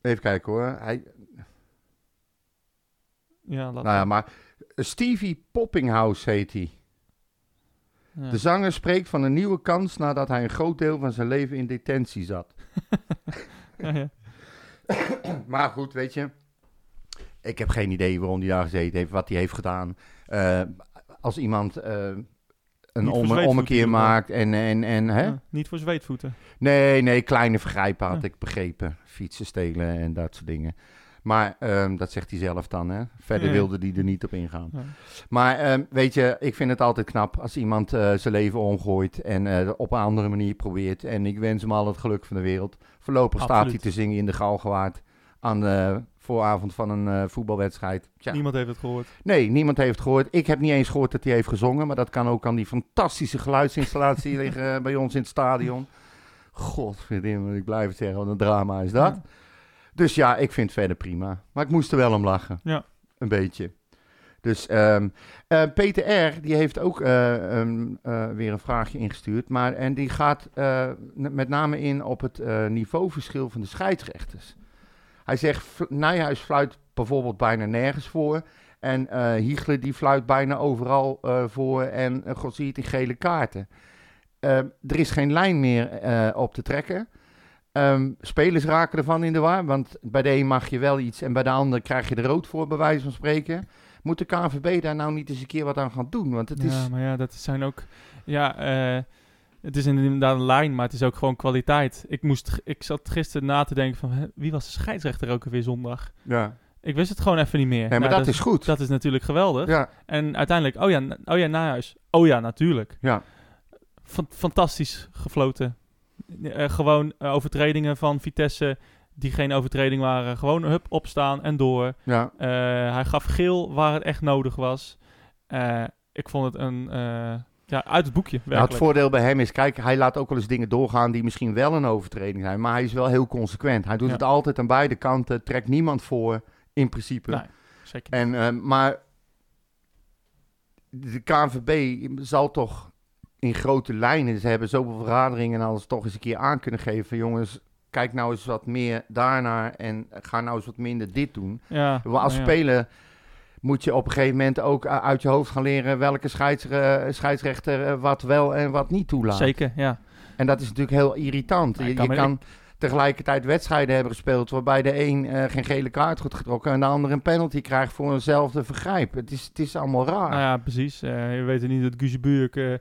B: even kijken hoor. Hij,
A: ja, laat
B: nou ja, maar Stevie Poppinghouse heet hij.
A: ja.
B: De zanger spreekt van een nieuwe kans nadat hij een groot deel van zijn leven in detentie zat.
A: *laughs* Ja, ja.
B: *coughs* Maar goed, weet je. Ik heb geen idee waarom hij daar gezeten heeft, wat hij heeft gedaan. Eh, als iemand eh, een
A: voor
B: omme-
A: zweetvoet in
B: ommekeer
A: ieder geval.
B: maakt en... en, en hè?
A: Ja, niet voor zweetvoeten.
B: Nee, nee, kleine vergrijpen had
A: Ja.
B: ik begrepen. Fietsen stelen en dat soort dingen. Maar ehm, dat zegt hij zelf dan, hè? Verder
A: Ja.
B: wilde hij er niet op ingaan.
A: Ja.
B: Maar ehm, weet je, ik vind het altijd knap als iemand eh, zijn leven omgooit en eh, op een andere manier probeert. En ik wens hem al het geluk van de wereld. Voorlopig staat hij
A: Absoluut.
B: te zingen in de Galgenwaard aan de vooravond van een eh, voetbalwedstrijd. Tja.
A: Niemand heeft het gehoord.
B: Nee, niemand heeft gehoord. Ik heb niet eens gehoord dat hij heeft gezongen. Maar dat kan ook aan die fantastische geluidsinstallatie *laughs* die liggen eh, bij ons in het stadion. Godverdomme, ik blijf het zeggen. Wat een drama is dat.
A: Ja.
B: Dus ja, ik vind het verder prima. Maar ik moest er wel om lachen.
A: Ja.
B: Een beetje. Dus ehm, eh, Peter R. die heeft ook eh, ehm, eh, weer een vraagje ingestuurd. Maar, en die gaat eh, n- met name in op het eh, niveauverschil van de scheidsrechters. Hij zegt, F- Nijhuis fluit bijvoorbeeld bijna nergens voor. En eh Hiegler die fluit bijna overal eh, voor. En uh, God zie het in gele kaarten. Ehm, er is geen lijn meer eh, op te trekken. Ehm, spelers raken ervan in de war. Want bij de een mag je wel iets en bij de ander krijg je er rood voor, bij wijze van spreken. Moet de KNVB daar nou niet eens een keer wat aan gaan doen? Want het
A: ja,
B: is...
A: maar ja, dat zijn ook. Ja, eh, het is inderdaad een lijn, maar het is ook gewoon kwaliteit. Ik, moest, g- ik zat gisteren na te denken van hè, wie was de scheidsrechter ook alweer zondag?
B: Ja.
A: Ik wist het gewoon even niet meer.
B: Nee, maar
A: Nou,
B: dat, is goed.
A: dat is natuurlijk geweldig.
B: ja,
A: En uiteindelijk, oh ja, na- oh ja, Nahuis. Oh ja, natuurlijk.
B: Ja.
A: Fan- fantastisch gefloten. Eh, gewoon eh, overtredingen van Vitesse die geen overtreding waren. Gewoon hup, opstaan en door.
B: ja.
A: Eh, hij gaf geel waar het echt nodig was. Eh, ik vond het een... eh, ja, uit het boekje,
B: Nou, het
A: werkelijk.
B: voordeel bij hem is, kijk, hij laat ook wel eens dingen doorgaan die misschien wel een overtreding zijn. Maar hij is wel heel consequent. Hij doet
A: Ja.
B: het altijd aan beide kanten, trekt niemand voor, in principe.
A: Nee. Zeker.
B: En, eh, maar de KNVB zal toch in grote lijnen, ze hebben zoveel vergaderingen en alles toch eens een keer aan kunnen geven. van, Jongens, kijk nou eens wat meer daarnaar en ga nou eens wat minder dit doen.
A: Ja,
B: Maar als
A: nou ja.
B: speler moet je op een gegeven moment ook eh, uit je hoofd gaan leren welke scheidsre- scheidsrechter eh, wat wel en wat niet toelaat.
A: Zeker, ja.
B: En dat is natuurlijk heel irritant.
A: Nou,
B: je
A: ik
B: je
A: kan
B: kan,
A: me-
B: tegelijkertijd wedstrijden hebben gespeeld waarbij de een eh, geen gele kaart wordt getrokken en de ander een penalty krijgt voor eenzelfde vergrijp. Het is, het is allemaal raar.
A: Nou ja, precies. Eh, we weten niet dat Guusje Buurk, eh,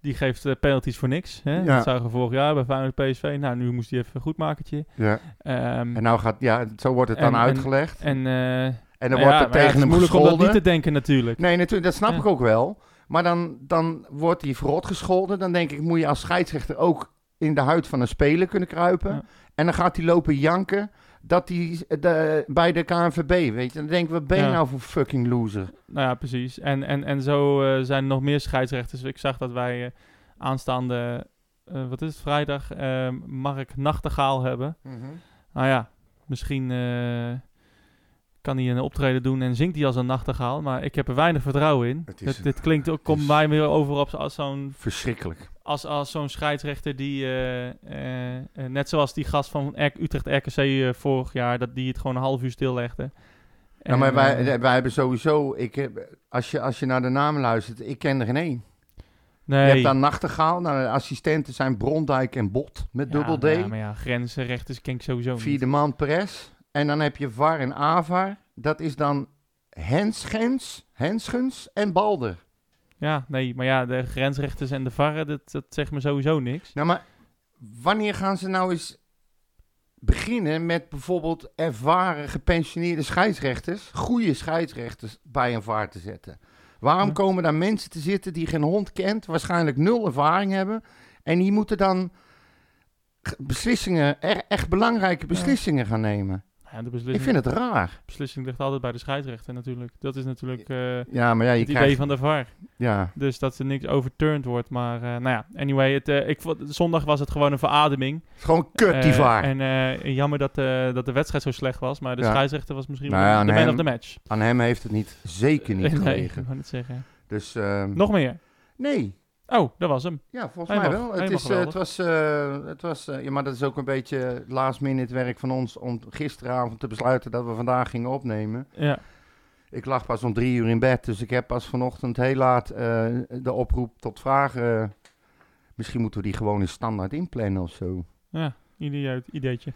A: die geeft eh, penalties voor niks. Hè?
B: Ja.
A: Dat zagen we vorig jaar bij Feyenoord PSV. Nou, nu moest hij even een goed makertje.
B: Ja.
A: Ehm,
B: En nou gaat, ja, zo wordt het dan
A: En- en-
B: uitgelegd.
A: en
B: En,
A: eh,
B: dan
A: nou ja,
B: wordt er
A: maar ja,
B: tegen
A: het is
B: hem
A: moeilijk om dat
B: gescholden.
A: niet te denken natuurlijk.
B: Nee, natuurlijk, dat snap
A: Ja.
B: ik ook wel. Maar dan, dan wordt hij verrot gescholden. Dan denk ik, moet je als scheidsrechter ook in de huid van een speler kunnen kruipen.
A: Ja.
B: En dan gaat hij lopen janken dat hij eh, de, bij de KNVB, weet je. Dan denk ik, wat ben je
A: Ja.
B: nou voor fucking loser?
A: Nou ja, precies. En, en, en zo eh, zijn er nog meer scheidsrechters. Ik zag dat wij eh, aanstaande, eh, wat is het, vrijdag, eh, Mark Nachtegaal hebben. Nou ja, misschien eh, kan hij een optreden doen en zingt hij als een nachtegaal. Maar ik heb er weinig vertrouwen in.
B: Het is
A: Dit,
B: een-
A: dit klinkt, ook- komt
B: is-
A: mij meer over op als zo'n
B: Verschrikkelijk.
A: als, als zo'n scheidsrechter die, eh, eh, eh, net zoals die gast van R- Utrecht RKC eh, vorig jaar, dat die het gewoon een half uur stillegde.
B: nou, maar
A: En,
B: wij,
A: eh,
B: wij hebben sowieso, ik heb, als, je, als je naar de namen luistert, ik ken er geen één. Je
A: nee.
B: hebt dan Nachtegaal, nou, de assistenten zijn Brondijk en Bot met
A: Ja,
B: dubbel D.
A: nou ja, maar ja, grenzen, rechters ken ik sowieso niet.
B: Vierde man Perez. En dan heb je VAR en AVAR. Dat is dan Henschens, Henschens en Balder.
A: Ja, nee, maar ja, de grensrechters en de varren, dat, dat zegt me sowieso niks.
B: Nou, maar wanneer gaan ze nou eens beginnen met bijvoorbeeld ervaren gepensioneerde scheidsrechters, goede scheidsrechters, bij een VAR te zetten? Waarom
A: Ja.
B: komen daar mensen te zitten die geen hond kent, waarschijnlijk nul ervaring hebben en die moeten dan g- beslissingen, e- echt belangrijke beslissingen gaan nemen?
A: Ja, de
B: Ik
A: beslissing,
B: vind het raar.
A: beslissing ligt altijd bij de scheidsrechter natuurlijk. Dat is natuurlijk eh,
B: Ja, maar ja, je
A: het idee
B: krijgt...
A: van de var.
B: Ja.
A: Dus dat er niks overturned wordt. Maar eh, nou ja, anyway, het, eh, ik vond, zondag was het gewoon een verademing.
B: Het is gewoon kut, die
A: Eh,
B: vaar.
A: En eh, jammer dat, eh, dat de wedstrijd zo slecht was. Maar de
B: Ja.
A: scheidsrechter was misschien
B: Nou
A: wel
B: ja,
A: de
B: aan
A: man
B: hem
A: of the match.
B: Aan hem heeft het niet, zeker niet
A: *laughs* nee, ik
B: gelegen.
A: wou niet zeggen.
B: Dus, ehm,
A: Nog meer.
B: Nee.
A: Oh, dat was hem.
B: Ja, volgens
A: Helemaal-
B: mij wel. Het,
A: helemaal
B: is, eh, het
A: geweldig.
B: was, eh, het was eh, ja, maar dat is ook een beetje last minute werk van ons om gisteravond te besluiten dat we vandaag gingen opnemen.
A: Ja.
B: Ik lag pas om drie uur in bed, dus ik heb pas vanochtend heel laat eh, de oproep tot vragen. eh, misschien moeten we die gewoon in standaard inplannen of zo.
A: Ja, idioot, ideetje.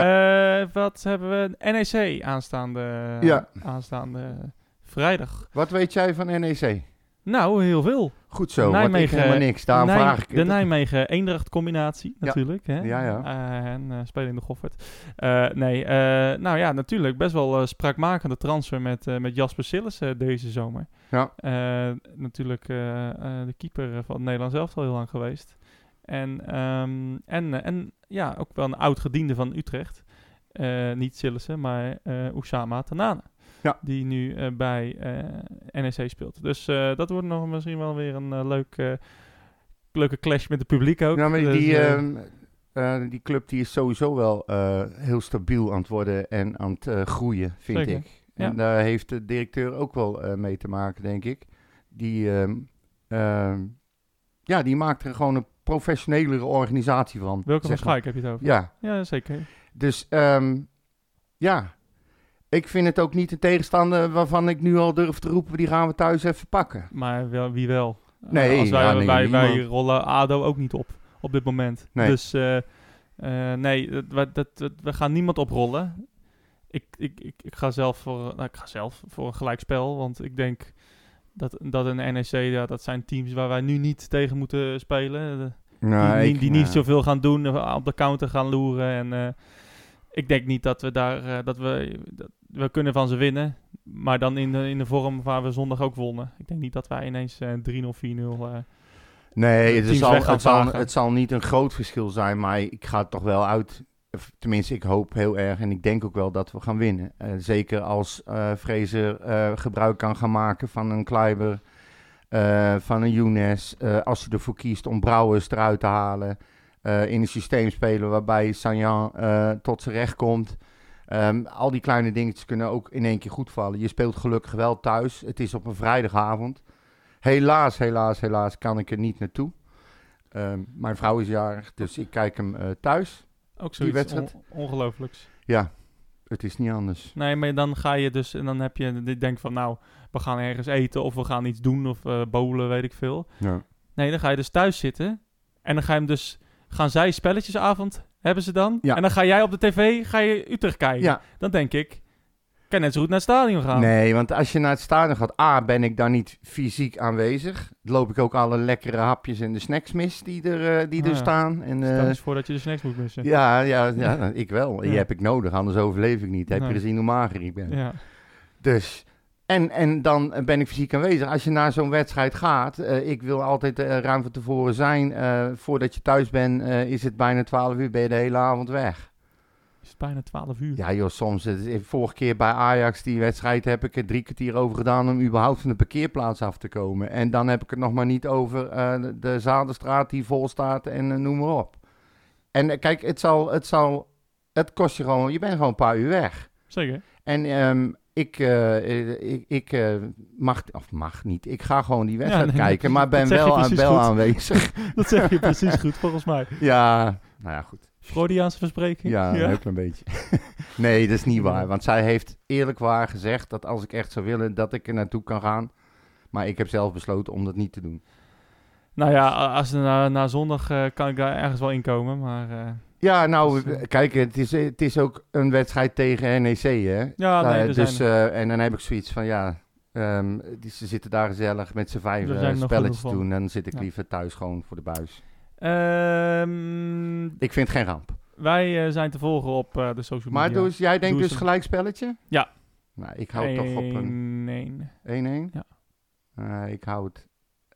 A: Eh, wat hebben we? NEC aanstaande,
B: Ja.
A: aanstaande vrijdag.
B: Wat weet jij van NEC?
A: Nou, heel veel.
B: Goed zo, want ik
A: Nijmegen-
B: helemaal niks. Daarom
A: Nij-
B: vraag ik
A: De Nijmegen-Eendracht combinatie natuurlijk. Hè?
B: Ja, ja.
A: Eh, en eh, spelen in de Goffert. Eh, nee, eh, nou ja, natuurlijk best wel eh, spraakmakende transfer met, eh, met Jasper Sillis eh, deze zomer.
B: Ja.
A: Eh, natuurlijk eh, eh, de keeper eh, van het Nederlands elftal heel lang geweest. En, ehm, en, eh, en ja, ook wel een oud gediende van Utrecht. Eh, niet Sillissen, maar eh Oussama Tanane.
B: Ja.
A: Die nu eh, bij eh, NEC speelt. Dus eh, dat wordt nog misschien wel weer een eh, leuk, eh, leuke clash met het publiek ook.
B: Ja, maar die,
A: Dus, eh,
B: ehm, eh, die club die is sowieso wel eh, heel stabiel aan het worden en aan het eh, groeien, vind
A: Zeker,
B: ik. En
A: ja.
B: daar heeft de directeur ook wel eh, mee te maken, denk ik. Die, ehm, ehm, ja, die maakt er gewoon een professionelere organisatie van.
A: Welke van
B: zeg maar.
A: Schaik heb je het over?
B: Ja,
A: Ja, zeker.
B: dus ehm, ja. Ik vind het ook niet een tegenstander waarvan ik nu al durf te roepen, die gaan we thuis even pakken.
A: Maar wel, wie wel?
B: Nee,
A: Eh, als wij,
B: ja, nee,
A: wij, wij
B: niemand.
A: rollen ADO ook niet op op dit moment.
B: Nee.
A: Dus eh, eh, nee, dat, dat, dat, dat- we gaan niemand oprollen. Ik, ik, ik, ik, ga zelf voor, nou, ik ga zelf voor een gelijkspel, want ik denk dat, dat een NEC, ja, dat zijn teams waar wij nu niet tegen moeten spelen. Eh, De- die, niet- die niet zoveel gaan doen, eh, op de counter gaan loeren. En eh, ik denk niet dat we daar, eh, dat we, dat, we kunnen van ze winnen. Maar dan in de, in de vorm waar we zondag ook wonnen. Ik denk niet dat wij ineens eh 3-0, 4-0... eh,
B: Nee,
A: de
B: het
A: teams
B: zal,
A: weg gaan
B: het, zal,
A: vagen.
B: het zal niet een groot verschil zijn, maar ik ga er toch wel uit. of Tenminste, ik hoop heel erg en ik denk ook wel dat we gaan winnen. Eh, zeker als eh Fraser eh, gebruik kan gaan maken van een Kleiber, eh, van een Younes. eh, als hij ervoor kiest om Brouwers eruit te halen. eh, in een systeem spelen waarbij Sanjan eh, tot zijn recht komt. Ehm, al die kleine dingetjes kunnen ook in één keer goed vallen. Je speelt gelukkig wel thuis. Het is op een vrijdagavond. Helaas, helaas, helaas kan ik er niet naartoe. Ehm, mijn vrouw is jarig, dus ik kijk hem eh, thuis.
A: Ook zoiets
B: wedstrijd?
A: on- ongelooflijks.
B: Ja, het is niet anders.
A: Nee, maar dan ga je dus en dan heb je dit denk van nou, we gaan ergens eten of we gaan iets doen of eh bowlen, weet ik veel.
B: Ja.
A: Nee, dan ga je dus thuis zitten en dan ga je hem dus gaan zij spelletjesavond hebben ze dan
B: Ja.
A: en dan ga jij op de tv ga je Utrecht kijken.
B: Ja.
A: Dan denk ik kan net zo goed naar het stadion gaan.
B: Nee, want als je naar het stadion gaat, A, ben ik daar niet fysiek aanwezig. Loop ik ook alle lekkere hapjes en de snacks mis die er, eh, die
A: Ah,
B: er
A: ja.
B: staan. En,
A: Stel
B: eh,
A: eens voor dat je dus niks moet missen.
B: ja, ja, ja, ik wel. Die
A: Ja.
B: heb ik nodig, anders overleef ik niet. Heb
A: Nee.
B: je gezien hoe mager ik ben?
A: Ja.
B: Dus, en, en dan ben ik fysiek aanwezig. Als je naar zo'n wedstrijd gaat, eh, ik wil altijd eh, ruim van tevoren zijn. eh, voordat je thuis bent, eh, is het bijna 12 uur, ben je de hele avond weg.
A: Is het bijna 12 uur?
B: Ja joh, soms. het is- vorige keer bij Ajax, die wedstrijd, heb ik er drie kwartier over gedaan om überhaupt van de parkeerplaats af te komen. En dan heb ik het nog maar niet over eh, de- de Zadenstraat die vol staat en eh, noem maar op. En eh, kijk, het zal, het zal, het kost je gewoon, je bent gewoon een paar uur weg.
A: Zeker.
B: En ehm, ik, eh, eh, ik, ik eh, mag, of mag niet, ik ga gewoon die wedstrijd
A: nee,
B: kijken, maar ben
A: dat zeg je
B: wel, aan,
A: precies
B: wel
A: goed.
B: aanwezig. *laughs*
A: Dat zeg je precies goed volgens mij.
B: Ja, nou ja, goed.
A: Freudiaanse verspreking.
B: Ja, een heel klein beetje. *laughs* nee, dat is niet waar, want zij heeft eerlijk waar gezegd dat als ik echt zou willen, dat ik er naartoe kan gaan. Maar ik heb zelf besloten om dat niet te doen.
A: Nou ja, als na, na zondag eh, kan ik daar ergens wel inkomen, maar eh,
B: Ja, nou,
A: Dus, eh,
B: kijk, het is, het is ook een wedstrijd tegen NEC, hè?
A: ja,
B: Nou,
A: Ah, nee,
B: eh,
A: er
B: dus,
A: zijn,
B: eh, en dan heb ik zoiets van, ja, ehm, die, ze zitten daar gezellig met z'n vijf
A: Er zijn nog
B: spelletjes te
A: genoeg van.
B: doen. En dan zit ik
A: Ja.
B: liever thuis gewoon voor de buis.
A: Ehm,
B: Ik vind het geen ramp.
A: wij eh, zijn te volgen op eh, de social media.
B: Maar dus, jij denkt
A: Doe eens
B: dus
A: een-
B: gelijk spelletje?
A: Ja.
B: Nou, ik hou het toch op een
A: Nee,
B: 1-1?
A: Ja.
B: Eh, ik hou het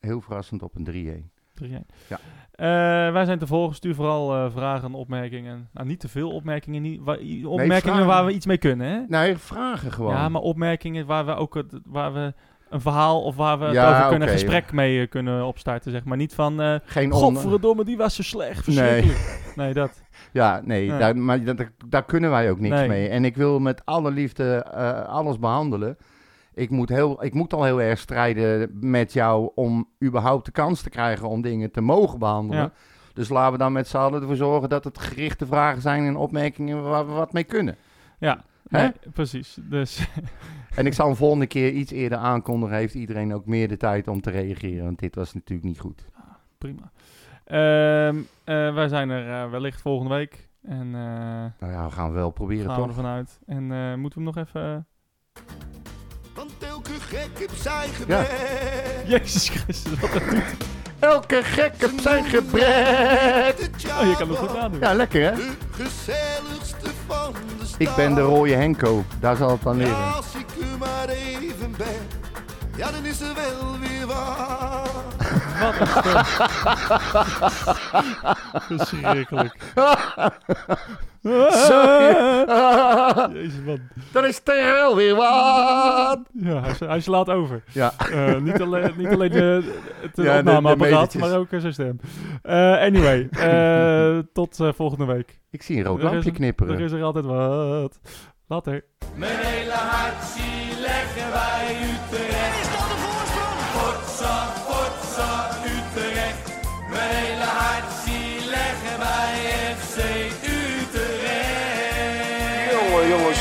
B: heel verrassend op een 3-1.
A: 3-1.
B: Ja.
A: Eh, wij zijn te volgen. Stuur vooral eh, vragen en opmerkingen. Nou, niet te veel opmerkingen. Niet, wa- i- opmerkingen
B: vragen.
A: waar we iets mee kunnen, hè?
B: Nee, vragen gewoon.
A: Ja, maar opmerkingen waar we ook het, waar we een verhaal of waar we het
B: Ja,
A: over kunnen
B: oké.
A: gesprek mee eh, kunnen opstarten, zeg maar. Niet van, eh
B: Geen onder...
A: godverdomme, die was zo slecht, verschrikkelijk.
B: *laughs*
A: Nee, dat.
B: Ja, nee,
A: Nee.
B: Daar, maar dat, daar kunnen wij ook niks
A: Nee.
B: mee. En ik wil met alle liefde eh, alles behandelen. Ik moet, heel, ik moet al heel erg strijden met jou om überhaupt de kans te krijgen om dingen te mogen behandelen.
A: Ja.
B: Dus laten we dan met z'n allen ervoor zorgen dat het gerichte vragen zijn en opmerkingen waar we wat mee kunnen.
A: Ja,
B: Hè?
A: nee, precies. Dus *laughs*
B: En ik zal hem volgende keer iets eerder aankondigen. Heeft iedereen ook meer de tijd om te reageren? Want dit was natuurlijk niet goed.
A: prima. Ehm, eh, wij zijn er eh, wellicht volgende week. En eh
B: Nou ja, we gaan wel proberen
A: gaan we
B: toch?
A: ervan uit. En eh, moeten we hem nog even...
G: Want elke gek heb zij gewerkt.
A: eh, *laughs* Jezus Christus, wat een...
B: Elke gek op zijn gebrek.
A: Oh, je kan het goed nadoen.
B: Ja, lekker hè?
G: De gezelligste van de stad.
B: Ik ben de rode Henko, daar zal het aan
G: Ja,
B: liggen.
G: als ik er maar even ben, ja, dan is er wel weer waar.
A: Wat een stem. *laughs* Verschrikkelijk.
B: *laughs*
A: Jezus, man.
B: dat is terwijl weer wat.
A: Ja, hij, sla- hij slaat over.
B: Ja.
A: Eh, niet alleen, niet alleen de, het eh,
B: Ja, de- de
A: opnameapparaat,
B: metertjes.
A: maar ook eh, zijn stem. Eh, anyway,
B: *laughs*
A: eh, tot eh, volgende week.
B: Ik zie een rood
A: Er is
B: lampje
A: een- Er
B: knipperen.
A: is er altijd wat. Later.
C: Mijn hele hart zie leggen wij Utrecht. Is dat de voorsprong? Potsa, potsa, Utrecht. Mijn hele hart zie leggen wij FC Utrecht.
D: Jongen, jongens,